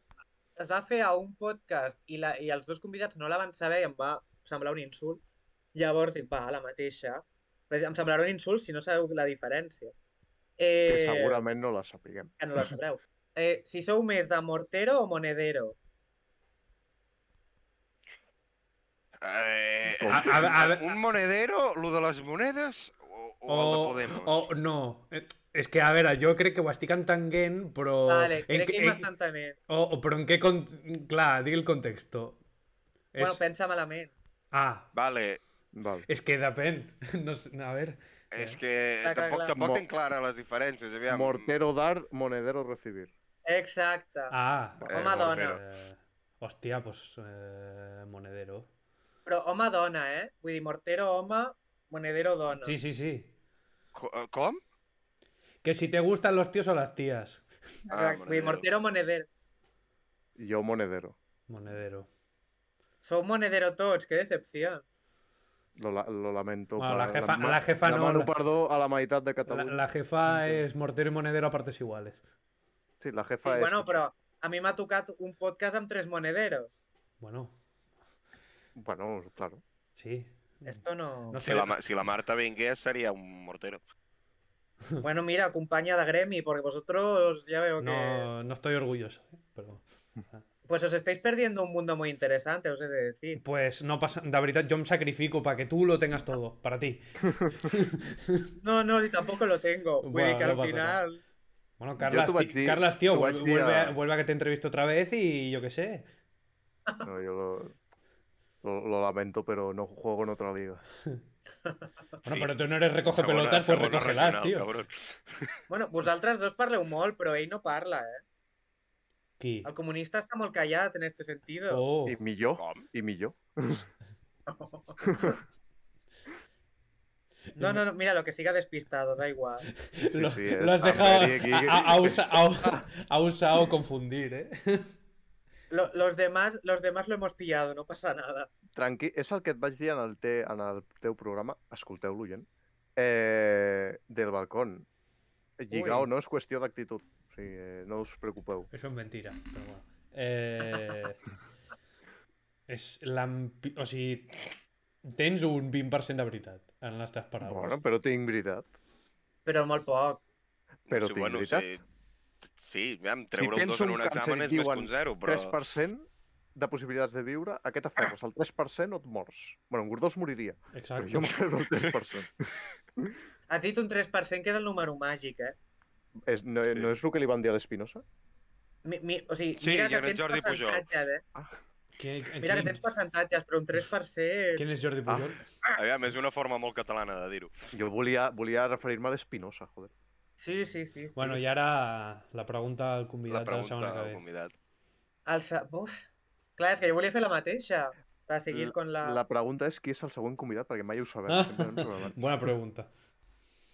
es va fer a un podcast i, la... i els dos convidats no la van saber i em va semblar un insult. Llavors dic, va, la mateixa. Però em semblarà un insult si no sabeu la diferència. Eh, que segurament no la sapiguem. Que no la sabreu. Eh, si sou més de Mortero o Monedero. Eh, Com? a, a, A- a- un monedero, lo de les monedes o, o, el de Podemos? O, no. Eh, És que, a veure, jo crec que ho estic entenguent, però... Vale, crec què- que hi m'està entenent. o, o, però en què... Con... Clar, digui el context. Bueno, pensa malament. Ah, Vale, Val. És que depèn. No, sé, a veure, És que Està clar, tampoc, clar. tampoc Mo- tinc clara les diferències, aviam. Mortero dar, monedero recibir. Exacte. Ah, Eh, home, dona. Mortero. Eh, hòstia, doncs eh, Monedero. Però home-dona, eh? Vull dir, mortero home, monedero dona. Sí, sí, sí. Co- eh, Com? Que si te gustan los tíos o las tías. Ah, Exacte. Vull dir, mortero, monedero. Jo monedero. Monedero. Sou monedero tots, que decepció. Lo, la- lo lamento. Bueno, la per- jefa- dema- la jefa no- Demano perdó a la meitat de La, Catalunya. la jefa es Mortero y Monedero a partes iguales. Sí, la Sí, jefa és... bueno, però a mi m'ha tocat un podcast amb tres monederos. Bueno, Bueno, claro. sí. Esto no... No sé. Si la, Ma- si la Marta vingués seria un mortero. Bueno, mira, compañía de Gremi, porque vosotros ya veo que... No, no estoy orgulloso, ¿eh? pero... Pues os estáis perdiendo un mundo muy interesante, os he de decir. Pues no pasa... La verdad, yo me sacrifico para que tú lo tengas todo, para ti. No, no, y tampoco lo tengo. Bueno, Puede que no al pasa nada. final... Bueno, te Carlas, voy a ti- decir- Carlas, tío, te voy a vuelve, decir vuelve a... a- vuelve a que te entrevisto otra vez y yo qué sé. No, yo lo, lo, lo lamento, pero no juego en otra liga. Bueno, Sí. pero tú no eres recoge Segona- pelotas, pues segona recógelas, regional, tío. cabron. Bueno, vosaltres dos parleu molt, però ell no parla, eh? Qui? Ah, El comunista està molt callat en este sentido. Oh, ¿Y mi yo? Com? ¿Y mi yo? No, no, no, mira, lo que siga despistado, da igual. lo, sí, es lo has dejado Amber y aquí- a, a- a usa- a- a usado confundir, ¿eh? Lo- los, demás, los demás lo hemos pillado, no pasa nada. Tranqui, és el que et vaig dir en el, te, en el teu programa, escolteu-lo, gent, eh, del balcón. Lligar Ui. o no és qüestió d'actitud. O sigui, eh, no us preocupeu. Eso es mentira, pero bueno. Eh, és l'ampi- O sigui, tens un 20% de veritat en les teves paraules. Bueno, però tinc veritat. Però molt poc. Però tinc veritat. Sí, sí aviam, treure un penso 2 en un un càncer examen i és més que diuen un 0, però... 3% de possibilitats de viure, aquest aferres el 3% o et mors. Bueno, en Gordós moriria, però Exacte. jo m'aferro al 3%. Has dit un 3% que és el número màgic, eh? És, no, Sí. no és el que li van dir a l'Espinosa? Mi, mi, o sigui, Sí, mira jo que era tens Jordi Pujol. percentatges, eh? Qui- Mira que qui- tens percentatges, però un 3%... Quin és Jordi Pujol? Aviam, és una forma molt catalana de dir-ho. Jo volia, volia referir-me a l'Espinosa, joder. Sí, sí, sí. sí. Bueno, i ara la pregunta al La convidat de la pregunta setmana que al ve. convidat. El sa... Uf. Clar, és que jo volia fer la mateixa, per seguir La- con la... La pregunta és qui és el següent convidat, perquè mai ho sabem. Ah. sempre ens ho avança. Bona pregunta.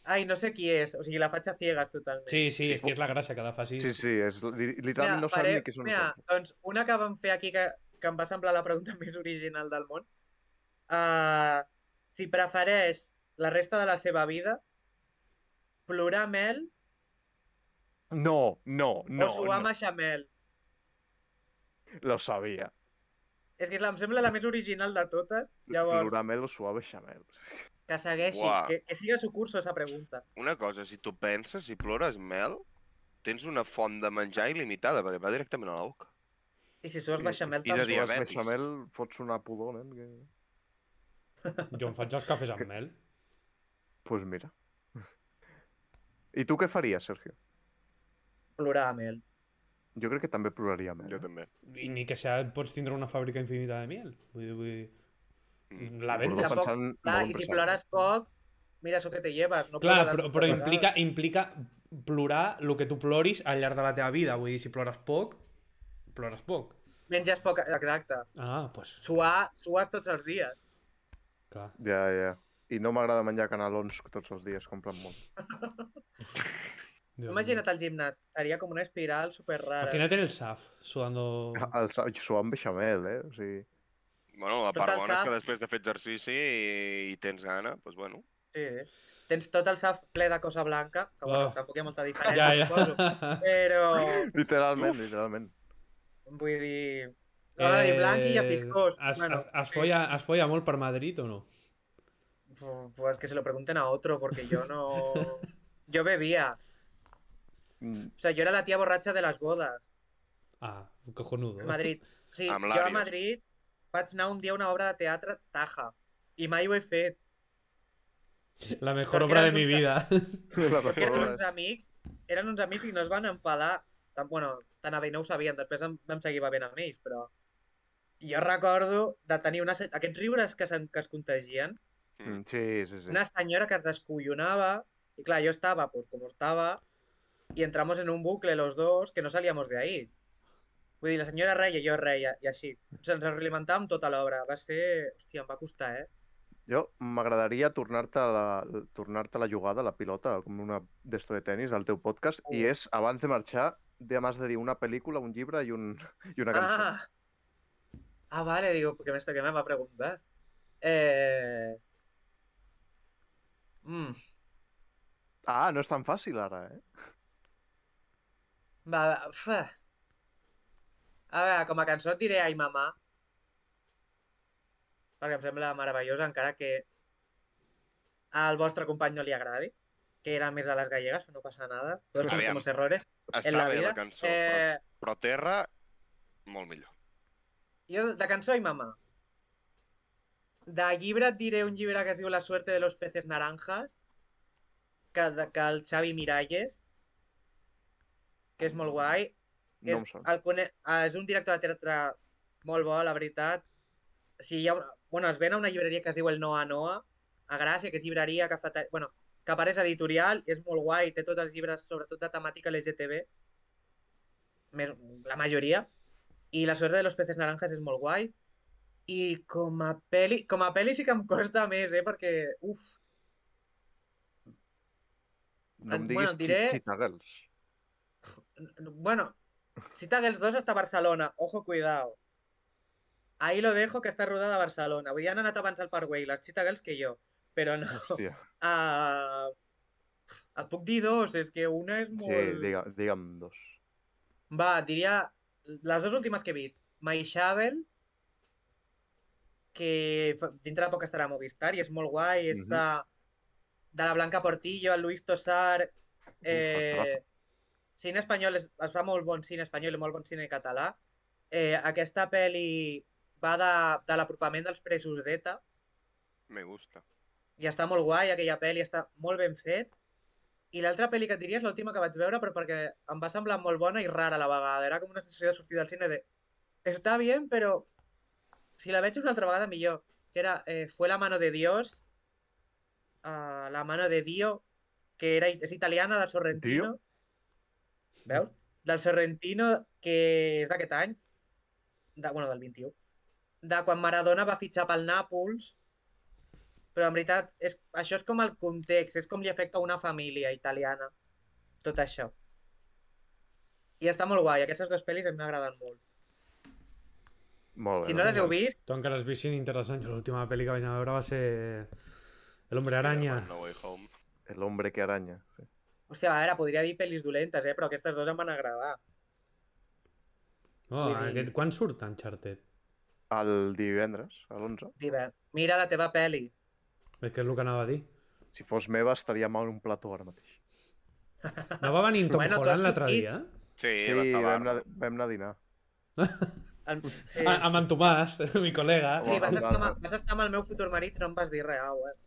Ai, no sé qui és, o sigui, la faig a ciegues totalment. Sí, sí, Sí. és que és la gràcia que la facis. Sí, sí, és, li- literalment no sabem ni qui és una mira, persona. doncs una que vam fer aquí que, que em va semblar la pregunta més original del món. Uh, si prefereix la resta de la seva vida plorar mel No, no, no, no, o suar no. no. mel. Lo sabia. És que és la, em sembla la més original de totes. Llavors, plorar. L'uramel o suave xamel. que segueixi, Uah. que, que siga su curso esa pregunta. Una cosa, si tu penses, si plores mel, tens una font de menjar il·limitada, perquè va directament a la boca. I si sues I- beixamel i de també. dia- Suaves diabetis. beixamel, fots una pudor, nen. Que... Jo em faig els cafès amb mel. Pues mira. I tu què faries, Sergio? Plorar mel. Jo crec que també ploraria mel. Jo eh? també. I ni que sea, pots tindre una fàbrica infinita de miel. Vull dir, vull dir... Mm. La Ho venda. porto Tampoc- pensant Clar, molt i Ah, si pesat. ploraràs poc, mira això que te lleves. No Clar, ploraràs però, moltes però vegades. implica, implica plorar el que tu ploris al llarg de la teva vida. Vull dir, si plores poc, plores poc. Menges poc, exacte. Ah, doncs, pues, Suar, sues tots els dies. clar. Ja, ja. I no m'agrada menjar canelons tots els dies, compren molt. Déu Imagina't al gimnàs, seria com una espiral super meu. rara. Imagina't en el SAF, sudando... El sa- suar amb beixamel, eh? O sigui, Bueno, la Tot part el bona és que sap. després de fer exercici i, i tens gana, doncs bueno. Sí. eh? Tens tot el saf ple de cosa blanca, que bueno, Oh. tampoc hi ha molta diferència, Ja, ja. suposo. Però, literalment, Uf. literalment. vull dir... No, de dir blanc i a fiscós. Eh, Es, bueno, es, es, folla, es folla molt per Madrid o no? sí. Pues que se lo pregunten a otro, porque yo no... Yo bebía. Mm, O sea, yo era la tía borracha de las bodas. Ah, cojonudo. A Madrid. Sí, Amb jo a làbies. Madrid vaig anar un dia a una obra de teatre taja. I mai ho he fet. La mejor Perquè obra de eres mi un vida. La Que eren recorda. uns amics, eren uns amics i no es van enfadar. Tan, bueno, tan bé no ho sabien, després em, vam seguir bevent amb ells, però... Jo recordo de tenir una... se- Aquests riures que, se'n- que es contagien, Mm. Mm, Sí, sí, sí. Una señora que se descollonaba y claro, yo estaba pues como estaba y entramos en un bucle los dos que no salíamos de ahí. Vull dir, la senyora reia, jo reia, i així. Ens realimentàvem tota l'obra. Va ser... Hòstia, em va costar, eh? Jo m'agradaria tornar-te a la, tornar-te la jugada, la pilota, com una d'esto de tennis al teu podcast, i Oh. és, abans de marxar, de m'has de dir una pel·lícula, un llibre i, un, i una cançó. Ah, ah, vale, digo, porque esto que me va a preguntar. Eh... Mm, Ah, no és tan fàcil ara, eh? va, va, fa. A veure, com a cançó et diré Ai Mamà, perquè em sembla meravellosa, encara que al vostre company no li agradi, que era més de les gallegas, no passa nada, todos Aviam. cometemos errores. Està en la bé vida, la cançó, però, Eh, però Terra, molt millor. Jo, de cançó i mamà. De llibre et diré un llibre que es diu La suerte de los peces naranjas, que, de, que el Xavi Miralles, que és molt guai. Que No em és, sona. el, cone- ah, és un director de teatre molt bo, la veritat. Si hi ha, una- bueno, es ven a una llibreria que es diu el Noa Noa, a Gràcia, que és llibreria que fa... ta- Bueno, que apareix editorial, és molt guai, té tots els llibres, sobretot de temàtica LGTB, més, la majoria, i La suerte de los peces naranjas és molt guai, i com a peli, com a peli sí que em costa més, eh, perquè, uf, No em Bueno, diguis chi- diré- Cheetah Girls. n- n- bueno, Cita Girls 2 hasta Barcelona, ojo, cuidado. Ahí lo dejo, que està rodada a Barcelona. Vull dir, han anat abans al Parkway, les Cheetah Girls que jo, però no. Hòstia, Uh, et puc dir dos, és que una és molt... sí, digue, digue'm dos. Va, diria les dues últimes que he vist. My Shovel, que fa- dintre de poc estarà a Movistar i és molt guai, és Mhm. de, de la Blanca Portillo, el Luis Tosar, eh, cine espanyol, es, es fa molt bon cine espanyol i molt bon cine català. Eh, aquesta pel·li va de, de l'apropament dels presos d'ETA, Me gusta. i està molt guai aquella pel·li, està molt ben fet. I l'altra pel·li que et diria és l'última que vaig veure, però perquè em va semblar molt bona i rara a la vegada. Era com una sensació de sortir del cine de... Està bien, però... Si la veig una altra vegada, millor. Que era... Eh, Fue la mano de Dios. Uh, la mano de Dio, que era, és italiana, del Sorrentino. Veus? Del Sorrentino, que és d'aquest any. De, bueno, del 21. De quan Maradona va fitxar pel Nàpols però en veritat, és, això és com el context, és com li afecta a una família italiana, tot això. I està molt guai, aquestes dues pel·lis em agraden molt. Molt bé. si no les heu molt bé. vist, Tu encara has vist interessant. Jo l'última pel·li que vaig anar a veure va ser... El hombre araña. No way home. El hombre que araña. sí. hòstia, a veure, podria dir pel·lis dolentes, eh? però aquestes dues em van agradar. Oh, Vull dir- aquest... Quan surt Uncharted? El divendres, a l'11. Diver, mira la teva pel·li. És que és el que anava a dir. Si fos meva, estaria mal un plató ara mateix. No va venir en Tom Bueno, tu has Holland l'altre sortit. dia? Sí, Sí, va estar vam barra. anar, vam anar a dinar. El... Sí. A, amb en Tomàs, mi col·lega. Eh, Sí, vas Home, estar, va. amb, vas estar amb el meu futur marit i no em vas dir res, au, eh?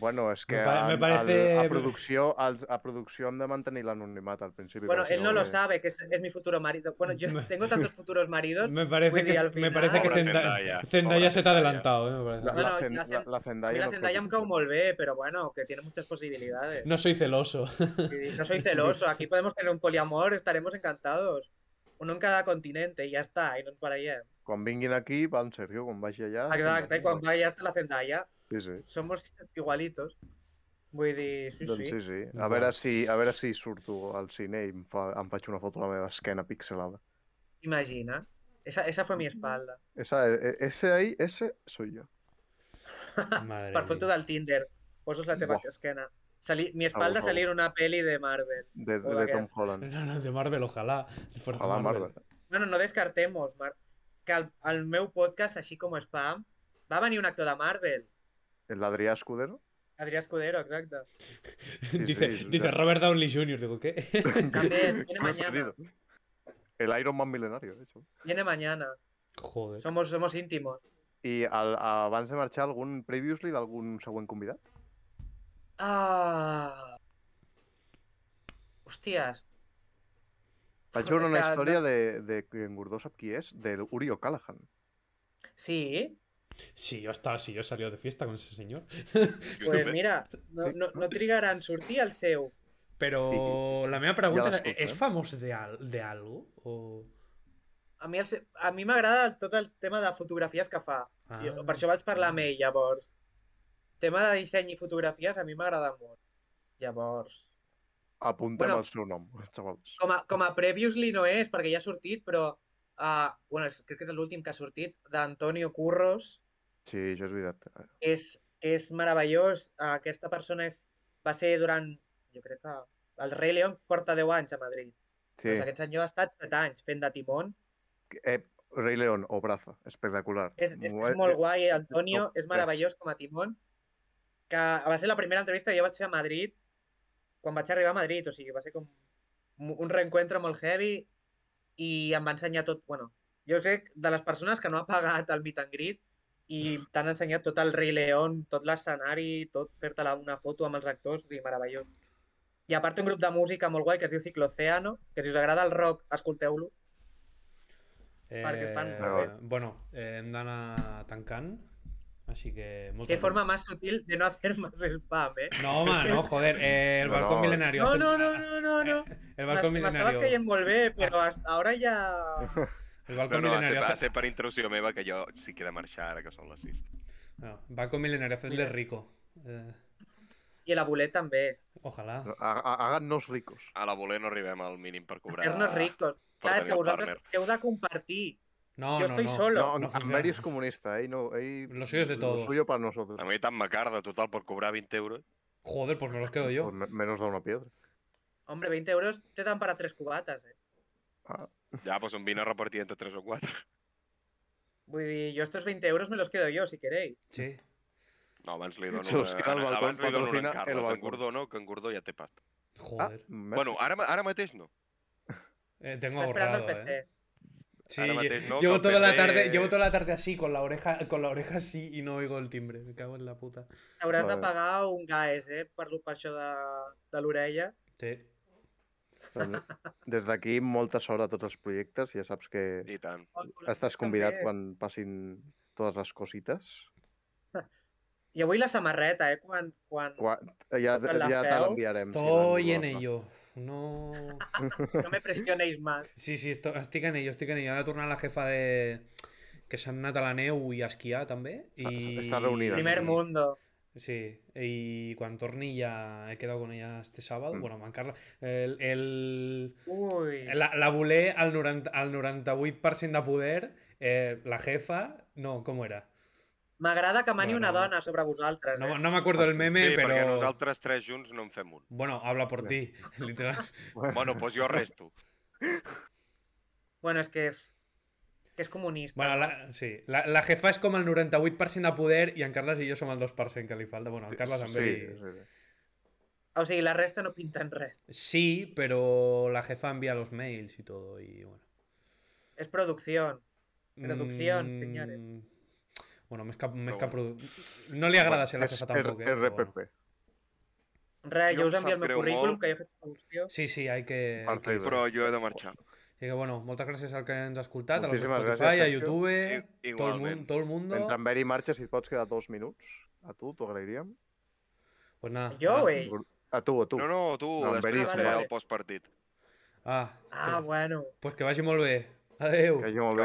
Bueno, és que Me pa- a, me parece- a, producció, al, a producció hem de mantenir l'anonimat al principi. Bueno, perquè si él no lo eh, sabe, que es, es mi futuro marido. Bueno, yo tengo tantos futuros maridos. Me Vull parece dir, que, al me final- parece que Pobre Zenda- Zendaya. Zendaya Pobre se te Zendaya. ha adelantado. eh, me parece. La, la, No, no, Zen- la la, Zen- la Zendaya Mira, no es Zendaya em productora. cau molt bé, però bueno, que tiene muchas posibilidades. No soy celoso. Sí, No soy celoso, aquí podemos tener un poliamor, estaremos encantados. Uno en cada continente y ya está, y no ens barallem. Quan vinguin aquí, va en sèrio, quan vagi allà... Exacte, Zendaya. i quan vaya hasta la Zendaya, Sí, sí. somos igualitos. Vull dir, sí, Doncs sí, sí. sí. A Va. veure, si, a veure si surto al cine i em, fa, em faig una foto a la meva esquena pixelada. Imagina. Esa, esa fue mi espalda. Esa, e- ese ahí, ese soy yo. Madre Per foto del Tinder, poses la teva Buah. esquena. Sali- mi espalda favor. salir en una peli de Marvel. De, de, de Hola, Tom Holland. No, no, de Marvel, ojalá. Fuera Ojalá Marvel. Bueno, no descartemos, Mar... que al, al meu podcast, així com spam, va venir un actor de Marvel. L'Adrià Escudero? Adrià Escudero, exacte. sí, dice sí, dice ya. Robert Downey Jr. Digo, ¿qué? També, viene Me he mañana. perdido. El Iron Man milenario, de hecho. Viene mañana. Joder. Somos, somos íntimos. I el, abans de marxar, algun previously d'algun següent convidat? Ah. Hòsties. Vaig Uf, veure és una que no- història de, de que en Gordó sap qui és, de Uri O'Callaghan. Sí? Si yo estaba, si yo he salido de fiesta con ese señor. Pues mira, no, no, no trigaran sortir el seu. Pero la meva pregunta Ja és, l'escolto, és eh? famós de, al- de algo? O... A mi el se- a mi m'agrada tot el tema de fotografies que fa. Ah, Jo, per això vaig parlar amb ell, llavors. Tema de disseny i fotografies a mi m'agrada molt. Llavors... Apuntem Bueno. el seu nom, xavals. Com a, com a Previously no és, perquè ja ha sortit, però... Uh, bueno, és- crec que és l'últim que ha sortit, d'Antonio Curros, Sí, això és veritat. que és, que és meravellós. Uh, aquesta persona és, va ser durant, jo crec que... El Rei León porta 10 anys a Madrid. Sí, Doncs aquest senyor ha estat 7 anys fent de timón. eh, Rei León, o Braza, espectacular. eh, És, és, que Molt- és molt guai, Antonio, top és meravellós com a Timón, que va ser la primera entrevista que jo vaig fer a Madrid, quan vaig arribar a Madrid, o sigui, va ser com un un reencuentro molt heavy i em va ensenyar tot, bueno, jo crec de les persones que no ha pagat el meet and greet i t'han ensenyat tot el Rei León, tot l'escenari, tot fer-te la- una foto amb els actors, i meravellós. I a part té un grup de música molt guai que es diu Cicloceano, que si us agrada el rock, escolteu-lo. eh, perquè fan molt eh, Bueno, eh, hem d'anar tancant, així que... moltes Qué forma más sutil de no hacer más spam, eh? gràcies. No, home, no, joder, eh, el No, balcón no. milenario. No, hacen- no, no, no, no, no. Eh, El balcón Me estabas milenario. cayendo muy bien, pero hasta ahora ya... El balcón No, no, ha de ser, milenario. ha de hace- ser per intrusió meva, que jo sí que he de marxar ara que són les 6. No, balcón milenario, hacesle rico. Eh, Y el abulet también. ojalá. No, ha- ha- Hágannos ricos. A la voler no arribem al mínim per cobrar... Hacernos ricos. per Claro, tenir es que el vosotros partner. heu de compartir. No, Yo no, estoy no. solo. No, no no funciona. Amber es comunista, ¿eh? No, ey, Lo suyo es de todos. Lo suyo para nosotros. A mi tan macarda, total, per cobrar 20 euros. Joder, pues me los quedo yo. Pues me- menos da una piedra. Hombre, 20 euros te dan para tres cubatas, eh? Ah, Ja, doncs, pues un vino repartit entre 3 o 4. Vull dir, yo estos 20 euros me los quedo yo, si queréis. Sí. No, abans li dono Se los una... queda el balcón, abans li dono una patrocina encarna. el Els balcón. engordono, que engordó ja té pasta. ah, Joder. merci. Bueno, ara, ma- ara mateix no. Eh, tengo Está esperando el ahorrado, eh. PC. Sí, Ahora lle- matéis, ¿no? llevo Con tota toda la PC. tarde, llevo toda la tarde así, con la oreja, con la oreja así y no oigo el timbre. Me cago en la puta. T'hauràs de Vale. pagar un GAES, eh? Per, per això de, de l'orella. Sí. Doncs Des d'aquí, molta sort a tots els projectes. Ja saps que I tant. estàs convidat quan passin totes les cosites. I avui la samarreta, eh? Quan, quan... Quan... Ja, Quan la ja te feu, l'enviarem. sí, Estoy l'han en guardat. ello. No. No me presionéis más. Sí, sí, esto, estic en ello, estic en ello. Ha de tornar la jefa de... que s'ha anat a la neu i a esquiar, també. Està- I... està reunida. Primer mundo. Sí, y cuando torni ya he quedado con ella este sábado. Mm. Bueno, mancarla. El, el, Ui. la, la voler al, 90, al 98% de poder, eh, la jefa... No, ¿cómo era? M'agrada que mani una Bueno. dona sobre vosaltres, eh? No, no me acuerdo del meme, Sí, pero... perquè nosaltres tres junts no en fem un. Bueno, habla por ti, literal. Bueno, doncs pues jo resto. Bueno, és que és, que és comunista. Bueno, la, sí, la, la jefa és com el 98% de poder i en Carles i jo som el 2% que li falta. Bueno, en Carles també... Sí, li- sí, sí. O sigui, la resta no pinten res. Sí, pero la jefa envía los mails y todo y bueno. És producció. Producción, Mm, señores. Bueno, me escapa. Me Pero escapa- No le agrada ser la És jefa R- tampoco. eh, pero bueno. RPP. Res, Jo jo em us envio el sap meu greu currículum, molt. que jo he fet producció. Sí, sí, hay que. hay Perfecte. que- Però jo he de marxar. Así que bueno, moltes gràcies al que ens ha escoltat, a los Moltíssimes Spotify, gràcies, a Sergio. YouTube, I- todo el, igualment. mundo, todo el mundo. Entre en Beri marxa, si et pots quedar dos minuts. A tu, t'ho agrairíem. Pues nada. Jo, ah, güey. A tu, a tu. No, no, tu, No, en després Beris, faré vale. el postpartit. Ah, Ah, pues, bueno. pues que vagi molt bé. Adeu. Que jo molt Que